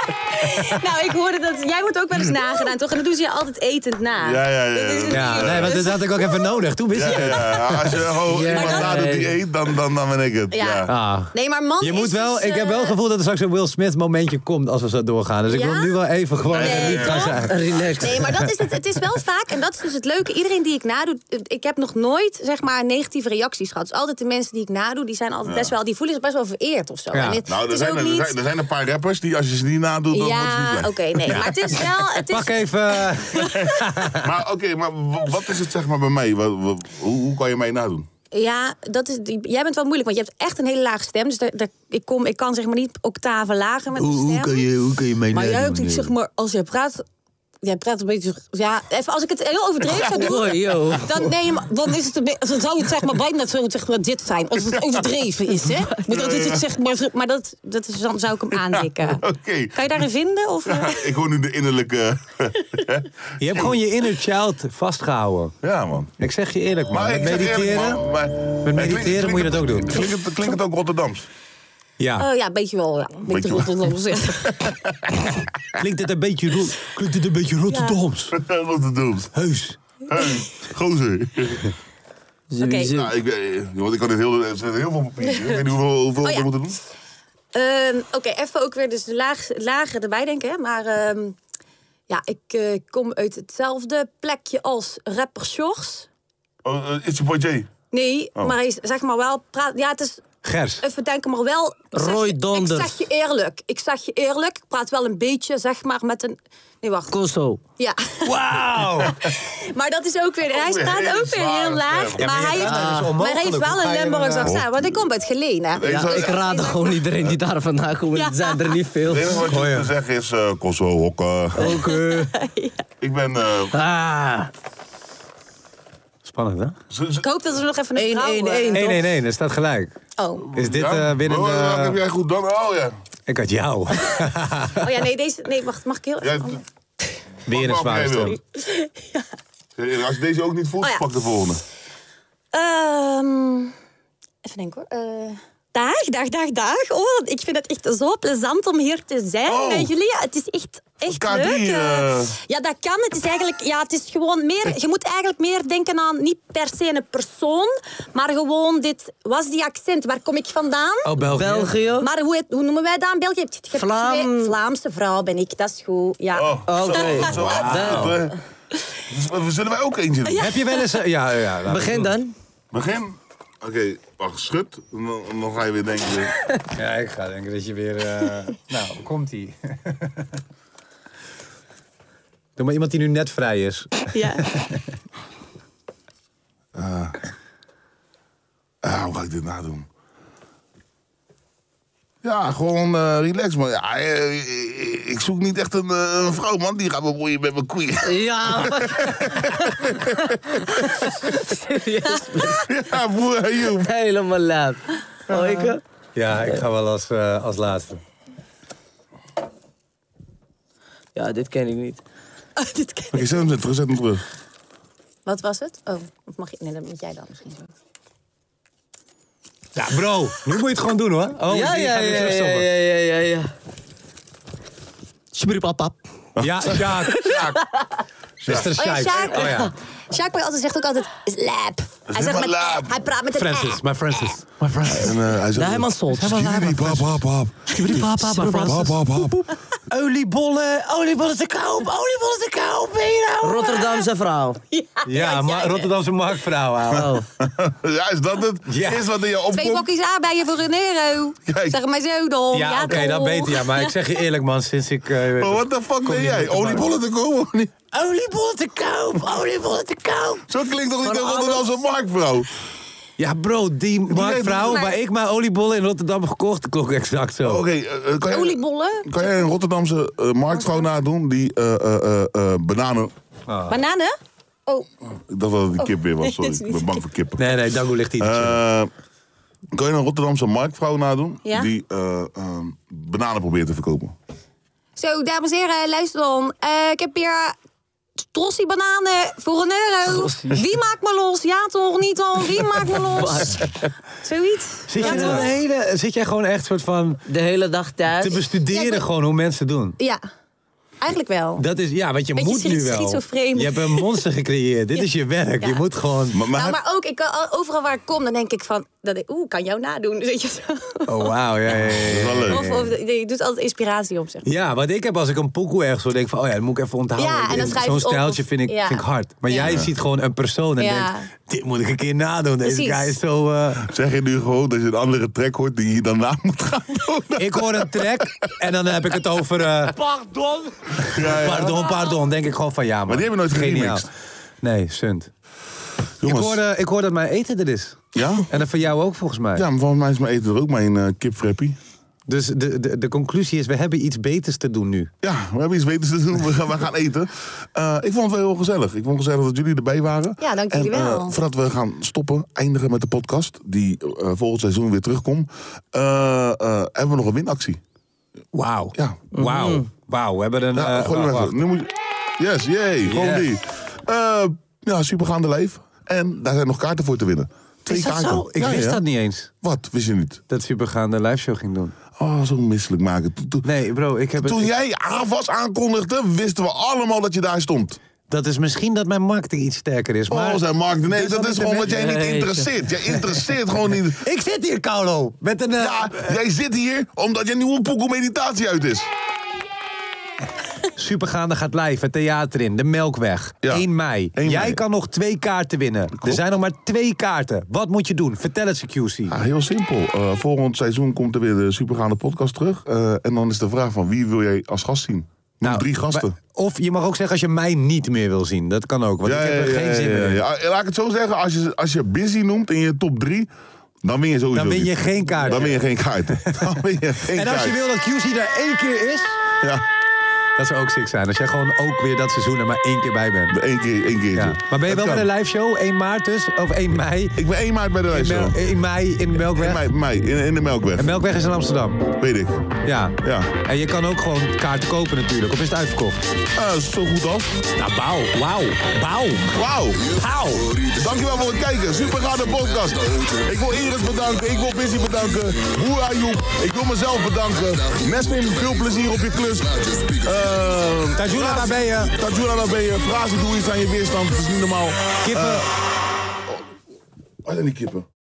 Speaker 9: [LAUGHS] Nou, ik hoorde dat. Jij wordt ook wel eens nagedaan, toch? En dat doen ze je altijd etend na.
Speaker 3: Ja, ja, ja.
Speaker 9: Dat is het
Speaker 4: Ja,
Speaker 9: niet.
Speaker 4: nee, want dat had ik ook even nodig. Toen wist
Speaker 3: Ja,
Speaker 4: ik
Speaker 3: ja,
Speaker 4: het.
Speaker 3: ja. Als je gewoon
Speaker 6: Ja.
Speaker 3: iemand
Speaker 9: Maar
Speaker 3: na
Speaker 9: dat-
Speaker 3: de dieet, dan, dan, dan ben ik het.
Speaker 9: Ja.
Speaker 3: Ja.
Speaker 4: Ah.
Speaker 9: Nee, maar man.
Speaker 4: Je
Speaker 9: is
Speaker 4: moet wel,
Speaker 9: dus,
Speaker 4: ik heb wel
Speaker 9: eh,
Speaker 4: het gevoel dat er straks een Will Smith momentje komt als we zo doorgaan. Dus ik
Speaker 9: Ja?
Speaker 4: wil nu wel even gewoon
Speaker 9: Nee,
Speaker 4: even lief gaan
Speaker 9: toch?
Speaker 4: zijn.
Speaker 6: Relax.
Speaker 9: Nee, maar dat is het. Het is wel vaak, en dat is dus het leuke. Iedereen die ik nadoe, ik heb nog nooit zeg maar negatieve reacties gehad. Dus altijd de mensen die ik nadoe, die zijn altijd best wel, die voelen zich best wel vereerd of zo.
Speaker 4: Ja.
Speaker 9: En het,
Speaker 3: Nou, er
Speaker 9: het is
Speaker 3: zijn,
Speaker 9: ook
Speaker 3: er,
Speaker 9: niet.
Speaker 3: zijn, er zijn een paar rappers die als je ze niet nadoet, dan wordt het niet
Speaker 9: ja,
Speaker 3: leuk.
Speaker 9: oké, nee. Maar het is wel. Het is,
Speaker 4: Pak even.
Speaker 3: Maar oké, maar w- wat is het zeg maar bij mij? Wat, wat- hoe, hoe kan je mij nadoen?
Speaker 9: Ja, dat is, die- jij bent wel moeilijk, want je hebt echt een hele lage stem. Dus daar, daar- ik, kom, ik kan zeg maar niet octaven lager met mijn stem.
Speaker 2: je, hoe kan je mij
Speaker 10: maar jij hebt iets, zeg maar, als jij praat... Jij praat een beetje... Ja, even als ik het heel overdreven
Speaker 6: [LAUGHS]
Speaker 10: zou doen...
Speaker 6: Hoi, yo.
Speaker 10: Dan, nee, maar dan, is het een be- dan zou het zeg maar bijna zo, zeg maar, dit zijn. Als het overdreven is,
Speaker 3: [LAUGHS]
Speaker 10: hè?
Speaker 9: Maar dat is het, zeg maar, zo- maar dat, dat is, dan zou ik hem aandikken.
Speaker 3: Oké.
Speaker 9: Kan je daarin vinden?
Speaker 3: [LAUGHS]
Speaker 9: Of, eh?
Speaker 3: Ik hoor nu de innerlijke...
Speaker 4: Je hebt gewoon je inner child vastgehouden.
Speaker 3: ja, man.
Speaker 4: Ik zeg je eerlijk, man.
Speaker 3: ik
Speaker 4: Met
Speaker 3: zeg eerlijk,
Speaker 4: mediteren.
Speaker 3: man, maar- maar klinkt-
Speaker 4: mediteren
Speaker 3: klinkt
Speaker 4: moet je
Speaker 3: het-
Speaker 4: dat ook doen.
Speaker 3: Klinkt het, klinkt het ook Rotterdams? [LAUGHS]
Speaker 4: Ja.
Speaker 9: Oh ja, een beetje wel. Ja.
Speaker 3: Beetje
Speaker 9: Beetje
Speaker 3: wel.
Speaker 9: Rotterdams, ja.
Speaker 4: Klinkt het een beetje, ro- klinkt het een beetje Rotterdams?
Speaker 3: Rotterdams.
Speaker 4: Heus.
Speaker 3: Hey, gozer.
Speaker 9: Oké.
Speaker 3: Nou, ik, eh, want ik had het heel, er zit heel veel papier. Ik weet niet hoeveel, hoeveel
Speaker 9: Oh, ja.
Speaker 3: we moeten doen.
Speaker 9: Ehm, Oké, even ook weer dus de laag, lager erbij denken. hè. Maar ehm, ja, ik eh, kom uit hetzelfde plekje als rapper Sjors.
Speaker 3: Oh, eh, it's your boy Jay.
Speaker 9: Nee,
Speaker 3: Oh.
Speaker 9: maar hij is, zeg maar wel... Praat, ja, het is
Speaker 4: Gers.
Speaker 9: even denken, Eh, maar wel... ik zeg
Speaker 6: Roy
Speaker 9: je-
Speaker 6: Donders.
Speaker 9: Ik zeg je eerlijk. Ik zeg je eerlijk. Ik praat wel een beetje, zeg maar, met een... Nee, wacht.
Speaker 6: Koso.
Speaker 9: Ja. [LAUGHS]
Speaker 4: Wauw.
Speaker 9: Maar dat is ook weer... Hij
Speaker 3: weer
Speaker 9: staat
Speaker 3: hele
Speaker 9: ook weer
Speaker 3: zware
Speaker 9: heel laag.
Speaker 3: stem. Ja,
Speaker 4: maar
Speaker 9: maar,
Speaker 4: je-
Speaker 9: hij heeft,
Speaker 4: dat is
Speaker 9: maar
Speaker 4: onmogelijk.
Speaker 9: hij heeft wel
Speaker 4: Hoe
Speaker 9: een
Speaker 4: ga je
Speaker 9: Lemberg
Speaker 4: dan, eh,
Speaker 9: accent. Want hij komt uit Geleen, hè?
Speaker 3: Nee,
Speaker 6: Ja,
Speaker 3: zou-
Speaker 6: ik raad gewoon iedereen die daar vandaan komt.
Speaker 9: Ja.
Speaker 6: Het zijn er niet veel.
Speaker 3: Het enige wat je te zeggen is eh Kosovo hokken.
Speaker 4: Oké.
Speaker 3: Ik ben... eh,
Speaker 6: Ah,
Speaker 4: Spannend, hè?
Speaker 3: z- z-
Speaker 9: Ik hoop dat we nog even een
Speaker 6: Eén,
Speaker 9: vrouw...
Speaker 6: één,
Speaker 9: eh,
Speaker 6: één.
Speaker 4: Nee, nee, nee. Dat staat gelijk.
Speaker 9: Oh.
Speaker 4: Is dit
Speaker 3: ja?
Speaker 4: eh, binnen
Speaker 3: Oh, ja, dat heb
Speaker 4: de...
Speaker 3: jij goed dan? Oh ja.
Speaker 4: Ik had [LAUGHS] jou.
Speaker 9: oh ja, nee, deze... Nee, wacht. Mag ik heel...
Speaker 3: Jij,
Speaker 9: oh.
Speaker 4: Weer een
Speaker 3: Pak maar
Speaker 4: zware
Speaker 3: op, jij
Speaker 4: stem.
Speaker 3: wil. Eh, Als je deze ook niet voelt,
Speaker 9: Oh, ja.
Speaker 3: pak de volgende.
Speaker 9: Ehm, even denken hoor. Eh, dag, dag, dag, dag. Oh, ik vind het echt zo plezant om hier te zijn
Speaker 3: Oh.
Speaker 9: bij jullie. Ja, Het is echt, echt
Speaker 3: K3,
Speaker 9: leuk. eh.
Speaker 3: eh.
Speaker 9: Ja, dat kan. Het is eigenlijk, ja, het is gewoon meer. Je moet eigenlijk meer denken aan niet per se een persoon, maar gewoon dit. Wat is die accent? Waar kom ik vandaan?
Speaker 4: Oh, België.
Speaker 6: België.
Speaker 9: Maar hoe, hoe noemen wij dat in België? Je hebt- je hebt
Speaker 6: Vlaam.
Speaker 9: twee- Vlaamse vrouw ben ik, dat is goed. Ja.
Speaker 3: Oh,
Speaker 6: Oké.
Speaker 3: zo, zo afgelopen, eh. Dus, eh, Zullen wij ook eentje doen?
Speaker 4: Heb je wel eens... Ja, ja, ja. laat-
Speaker 6: [LAUGHS] Begin dan.
Speaker 3: Begin. Oké, wacht, schud. En Dan, en dan ga je weer denken.
Speaker 4: Ja, ik ga denken dat je weer... [LAUGHS] eh, Nou, komt ie. [LAUGHS] Doe maar iemand die nu net vrij is.
Speaker 9: [LAUGHS] Ja.
Speaker 3: Ah, hoe ga ik dit nadoen? Ja, gewoon eh, relax, man. Ja, eh, ik- ik zoek niet echt een, eh, een vrouw, man. Die gaat me boeien met mijn koeien. [LAUGHS]
Speaker 6: Ja, [LAUGHS]
Speaker 3: ja, broer, Joep.
Speaker 6: helemaal laat. Oh, ik, eh,
Speaker 4: Ja, ik ga wel als, eh, als laatste.
Speaker 6: ja, dit ken ik niet.
Speaker 9: Oh, dit ken-
Speaker 3: Oké, zet hem terug, zet hem terug.
Speaker 9: Wat was het? Oh, of mag ik? Nee, dat moet jij dan misschien zo.
Speaker 4: Ja, bro. Nu moet je het gewoon doen, hoor. Oh,
Speaker 6: ja,
Speaker 4: die
Speaker 6: ja,
Speaker 4: gaat weer
Speaker 6: ja, ja,
Speaker 4: terugstoppen.
Speaker 6: ja, ja, ja, ja. Smiepapap.
Speaker 4: [LAUGHS] Ja, Sjaak. Sjaak. Mr.
Speaker 9: Oh ja,
Speaker 4: Sjaak.
Speaker 9: Sjaak.
Speaker 4: Oh ja.
Speaker 9: Sjaak Boy altijd zegt ook altijd slap. Hij, zegt met,
Speaker 3: Slap.
Speaker 9: hij praat met een
Speaker 4: Francis,
Speaker 9: [LAUGHS] eh.
Speaker 4: my Francis. My Francis.
Speaker 3: En eh, hij zegt...
Speaker 6: Nee, helemaal sold.
Speaker 3: Skibidi, bap, bap, bap.
Speaker 6: Skibidi, bap, bap, bap.
Speaker 3: Bap, bap, bap.
Speaker 6: Oliebollen, oliebollen te koop, oliebollen te koop, Rotterdamse vrouw.
Speaker 4: Ja, maar Rotterdamse marktvrouw, ouwe.
Speaker 6: Oh.
Speaker 3: [LAUGHS] Ja, is dat het?
Speaker 4: Ja.
Speaker 3: Is wat in je
Speaker 9: Twee
Speaker 3: opkomt?
Speaker 9: bokjes aardbeien voor een euro.
Speaker 3: Kijk.
Speaker 9: Zeg maar zo dan.
Speaker 4: Ja, oké, dat
Speaker 9: Oh, toch.
Speaker 4: beter. Ja, maar ik zeg je eerlijk, man, sinds ik... eh,
Speaker 3: Maar Oh, what the fuck ben jij? Oliebollen te komen of niet?
Speaker 6: Oliebollen te koop, oliebollen te koop.
Speaker 3: Zo klinkt toch niet een Rotterdamse marktvrouw?
Speaker 4: Ja, bro, die marktvrouw
Speaker 9: maar-
Speaker 4: waar ik mijn oliebollen in Rotterdam heb gekocht, dat klonk exact zo.
Speaker 3: Oké, eh, eh, kan jij-
Speaker 9: Oliebollen,
Speaker 3: Kan jij een Rotterdamse eh, marktvrouw nadoen die eh, eh, eh, eh, bananen...
Speaker 9: bananen. Oh,
Speaker 3: Ik dacht dat het een kip weer was,
Speaker 9: dit [LAUGHS]
Speaker 3: sorry.
Speaker 9: is
Speaker 3: Ik
Speaker 9: niet
Speaker 3: ben bang voor kippen.
Speaker 4: Nee, nee, Dango ligt hier.
Speaker 3: Eh, kan je een Rotterdamse marktvrouw nadoen
Speaker 9: Ja.
Speaker 3: die eh, eh, bananen probeert te verkopen?
Speaker 9: zo, dames en heren, luister dan. Eh, ik heb hier trossie bananen voor een euro. Wie maakt me los? Ja toch, niet dan? Wie maakt me los? Zoiets.
Speaker 4: zit, jij dan een hele, zit jij gewoon echt soort van
Speaker 6: De hele dag
Speaker 4: te
Speaker 6: thuis.
Speaker 4: bestuderen
Speaker 9: Ja, ik-
Speaker 4: gewoon hoe mensen doen?
Speaker 9: Ja, eigenlijk wel.
Speaker 4: Dat is, ja, want je
Speaker 9: Beetje
Speaker 4: moet nu
Speaker 9: schiet-
Speaker 4: wel.
Speaker 9: schizofreen.
Speaker 4: Je hebt een monster gecreëerd. Dit is je werk. Je
Speaker 9: Ja.
Speaker 4: moet gewoon...
Speaker 3: Maar, maar
Speaker 9: nou,
Speaker 3: heb-
Speaker 9: maar ook, ik, kan al- overal waar ik kom, dan denk ik van, dat ik, oeh, kan jou nadoen. [LAUGHS] Weet je zo.
Speaker 4: Oh, wauw, ja, ja, ja, ja.
Speaker 3: dat is wel leuk.
Speaker 9: Of, of je doet altijd inspiratie op, zeg maar.
Speaker 4: Ja, wat ik heb als ik een pokoe ergens hoor, denk ik van, oh ja, dat moet ik even onthouden.
Speaker 9: Ja, en dan schrijf je
Speaker 4: Zo'n
Speaker 9: het op,
Speaker 4: stijltje
Speaker 9: of-
Speaker 4: vind ik,
Speaker 9: ja.
Speaker 4: vind ik hard. Maar jij ziet gewoon een persoon en
Speaker 9: Ja.
Speaker 4: denkt, dit moet ik een keer nadoen. Deze
Speaker 9: Precies.
Speaker 4: guy is zo... eh,
Speaker 3: zeg je nu gewoon dat je een andere track hoort die je daarna moet gaan
Speaker 4: [LAUGHS]
Speaker 3: doen?
Speaker 4: Ik hoor een track en dan heb ik het over... eh,
Speaker 3: Ja, ja.
Speaker 4: Pardon, pardon. Denk ik gewoon van ja, man.
Speaker 3: Maar die hebben nooit geremixed.
Speaker 4: Nee, sunt. Ik
Speaker 3: Jongens,
Speaker 4: hoorde, ik hoorde dat mijn eten er is.
Speaker 3: ja?
Speaker 4: En dat van jou ook volgens mij.
Speaker 3: Ja, maar volgens mij is mijn eten er ook mijn eh kipfreppie.
Speaker 4: Dus de, de, de conclusie is, we hebben iets beters te doen nu.
Speaker 3: Ja, we hebben iets beters te doen. We gaan, we gaan eten. Eh, ik vond het wel heel gezellig. Ik vond het gezellig dat jullie erbij waren.
Speaker 9: Ja, dank
Speaker 3: En,
Speaker 9: jullie wel.
Speaker 3: eh, voordat we gaan stoppen, eindigen met de podcast... die eh, volgend seizoen weer terugkomt... eh, eh, hebben we nog een winactie.
Speaker 4: Wauw.
Speaker 3: Ja. Mhm.
Speaker 4: Wauw. Wauw, we hebben een...
Speaker 3: Ja,
Speaker 4: eh,
Speaker 3: gooi hem
Speaker 4: wacht,
Speaker 3: even. Nu moet je... Yes, yay. Gewoon
Speaker 4: Yes.
Speaker 3: die. Eh, ja, supergaande lijf. En daar zijn nog kaarten voor te winnen. Twee
Speaker 4: wacht. Is dat
Speaker 3: kaarten.
Speaker 4: zo? Ik
Speaker 3: Ja,
Speaker 4: wist
Speaker 3: ja.
Speaker 4: dat niet eens.
Speaker 3: Wat? Wist je niet?
Speaker 4: Dat Supergaande liveshow ging doen.
Speaker 3: Oh, zo misselijk maken. Toen- toen-
Speaker 4: Nee, bro, ik heb...
Speaker 3: Toen
Speaker 4: het,
Speaker 3: jij AVAS aankondigde, wisten we allemaal dat je daar stond.
Speaker 4: Dat is misschien dat mijn marketing iets sterker is, maar...
Speaker 3: Oh, zei Mark. Nee,
Speaker 4: Dus
Speaker 3: dat
Speaker 4: dat
Speaker 3: is
Speaker 4: is
Speaker 3: gewoon
Speaker 4: een
Speaker 3: dat jij [LAUGHS] niet
Speaker 6: beetje-
Speaker 3: interesseert. Jij interesseert gewoon niet. [LAUGHS]
Speaker 4: Ik zit hier, Carlo, met een... eh,
Speaker 3: Ja, jij zit hier omdat je nieuwe pokoe meditatie uit is.
Speaker 4: Supergaande gaat live, het theater in, de Melkweg.
Speaker 3: Ja.
Speaker 4: 1 mei.
Speaker 3: 1
Speaker 4: Jij
Speaker 3: mei.
Speaker 4: kan nog twee kaarten winnen. Er zijn nog maar twee kaarten. Wat moet je doen? Vertel het, QC.
Speaker 3: Ja, heel simpel. Eh, volgend seizoen komt er weer de supergaande podcast terug. Eh, en dan is de vraag van wie wil jij als gast zien? Noem
Speaker 4: Nou,
Speaker 3: drie gasten.
Speaker 4: maar- Of je mag ook zeggen als je mij niet meer wil zien. Dat kan ook, want ik heb er geen zin meer in.
Speaker 3: ja. Ah, Laat ik het zo zeggen, als je, als je busy noemt in je top drie, dan win je sowieso
Speaker 4: Dan win je
Speaker 3: niet.
Speaker 4: geen kaart.
Speaker 3: Dan win je geen kaart.
Speaker 4: [LAUGHS]
Speaker 3: Dan win je geen
Speaker 4: En als je
Speaker 3: kaart.
Speaker 4: wil dat QC daar één keer is...
Speaker 3: Ja.
Speaker 4: Dat zou ook sick zijn. Als jij gewoon ook weer dat seizoen er maar één keer bij bent.
Speaker 3: Eén keer, één keertje.
Speaker 4: Ja. Maar ben je
Speaker 3: Dat
Speaker 4: wel
Speaker 3: kan.
Speaker 4: bij de live show? 1 maart dus? Of 1 mei?
Speaker 3: Ik ben 1 maart bij de lijst.
Speaker 4: Mel- 1 mei in
Speaker 3: In
Speaker 4: Melkweg?
Speaker 3: mei, mei, in, in de Melkweg.
Speaker 4: En Melkweg is in Amsterdam.
Speaker 3: Weet ik. Ah,
Speaker 4: Ja.
Speaker 3: Ja.
Speaker 4: En je kan ook gewoon kaarten kopen natuurlijk. Of is het uitverkocht?
Speaker 3: Ah, zo goed af.
Speaker 4: Nou, bouw, wauw, bouw,
Speaker 3: Wauw.
Speaker 4: bouw.
Speaker 3: Dankjewel voor het kijken. Super gaande podcast. Ik wil Iris bedanken. Ik wil Busy bedanken. Boer Ayoub. Ik wil mezelf bedanken. Nesmin, veel plezier op je klus. Eh,
Speaker 4: Tajula, daar ben je.
Speaker 3: Tajula, daar ben je.
Speaker 6: Eh,
Speaker 3: Frazen, doe iets aan je weerstand. Het is niet normaal.
Speaker 4: Kippen.
Speaker 3: Waar zijn Ah, die kippen?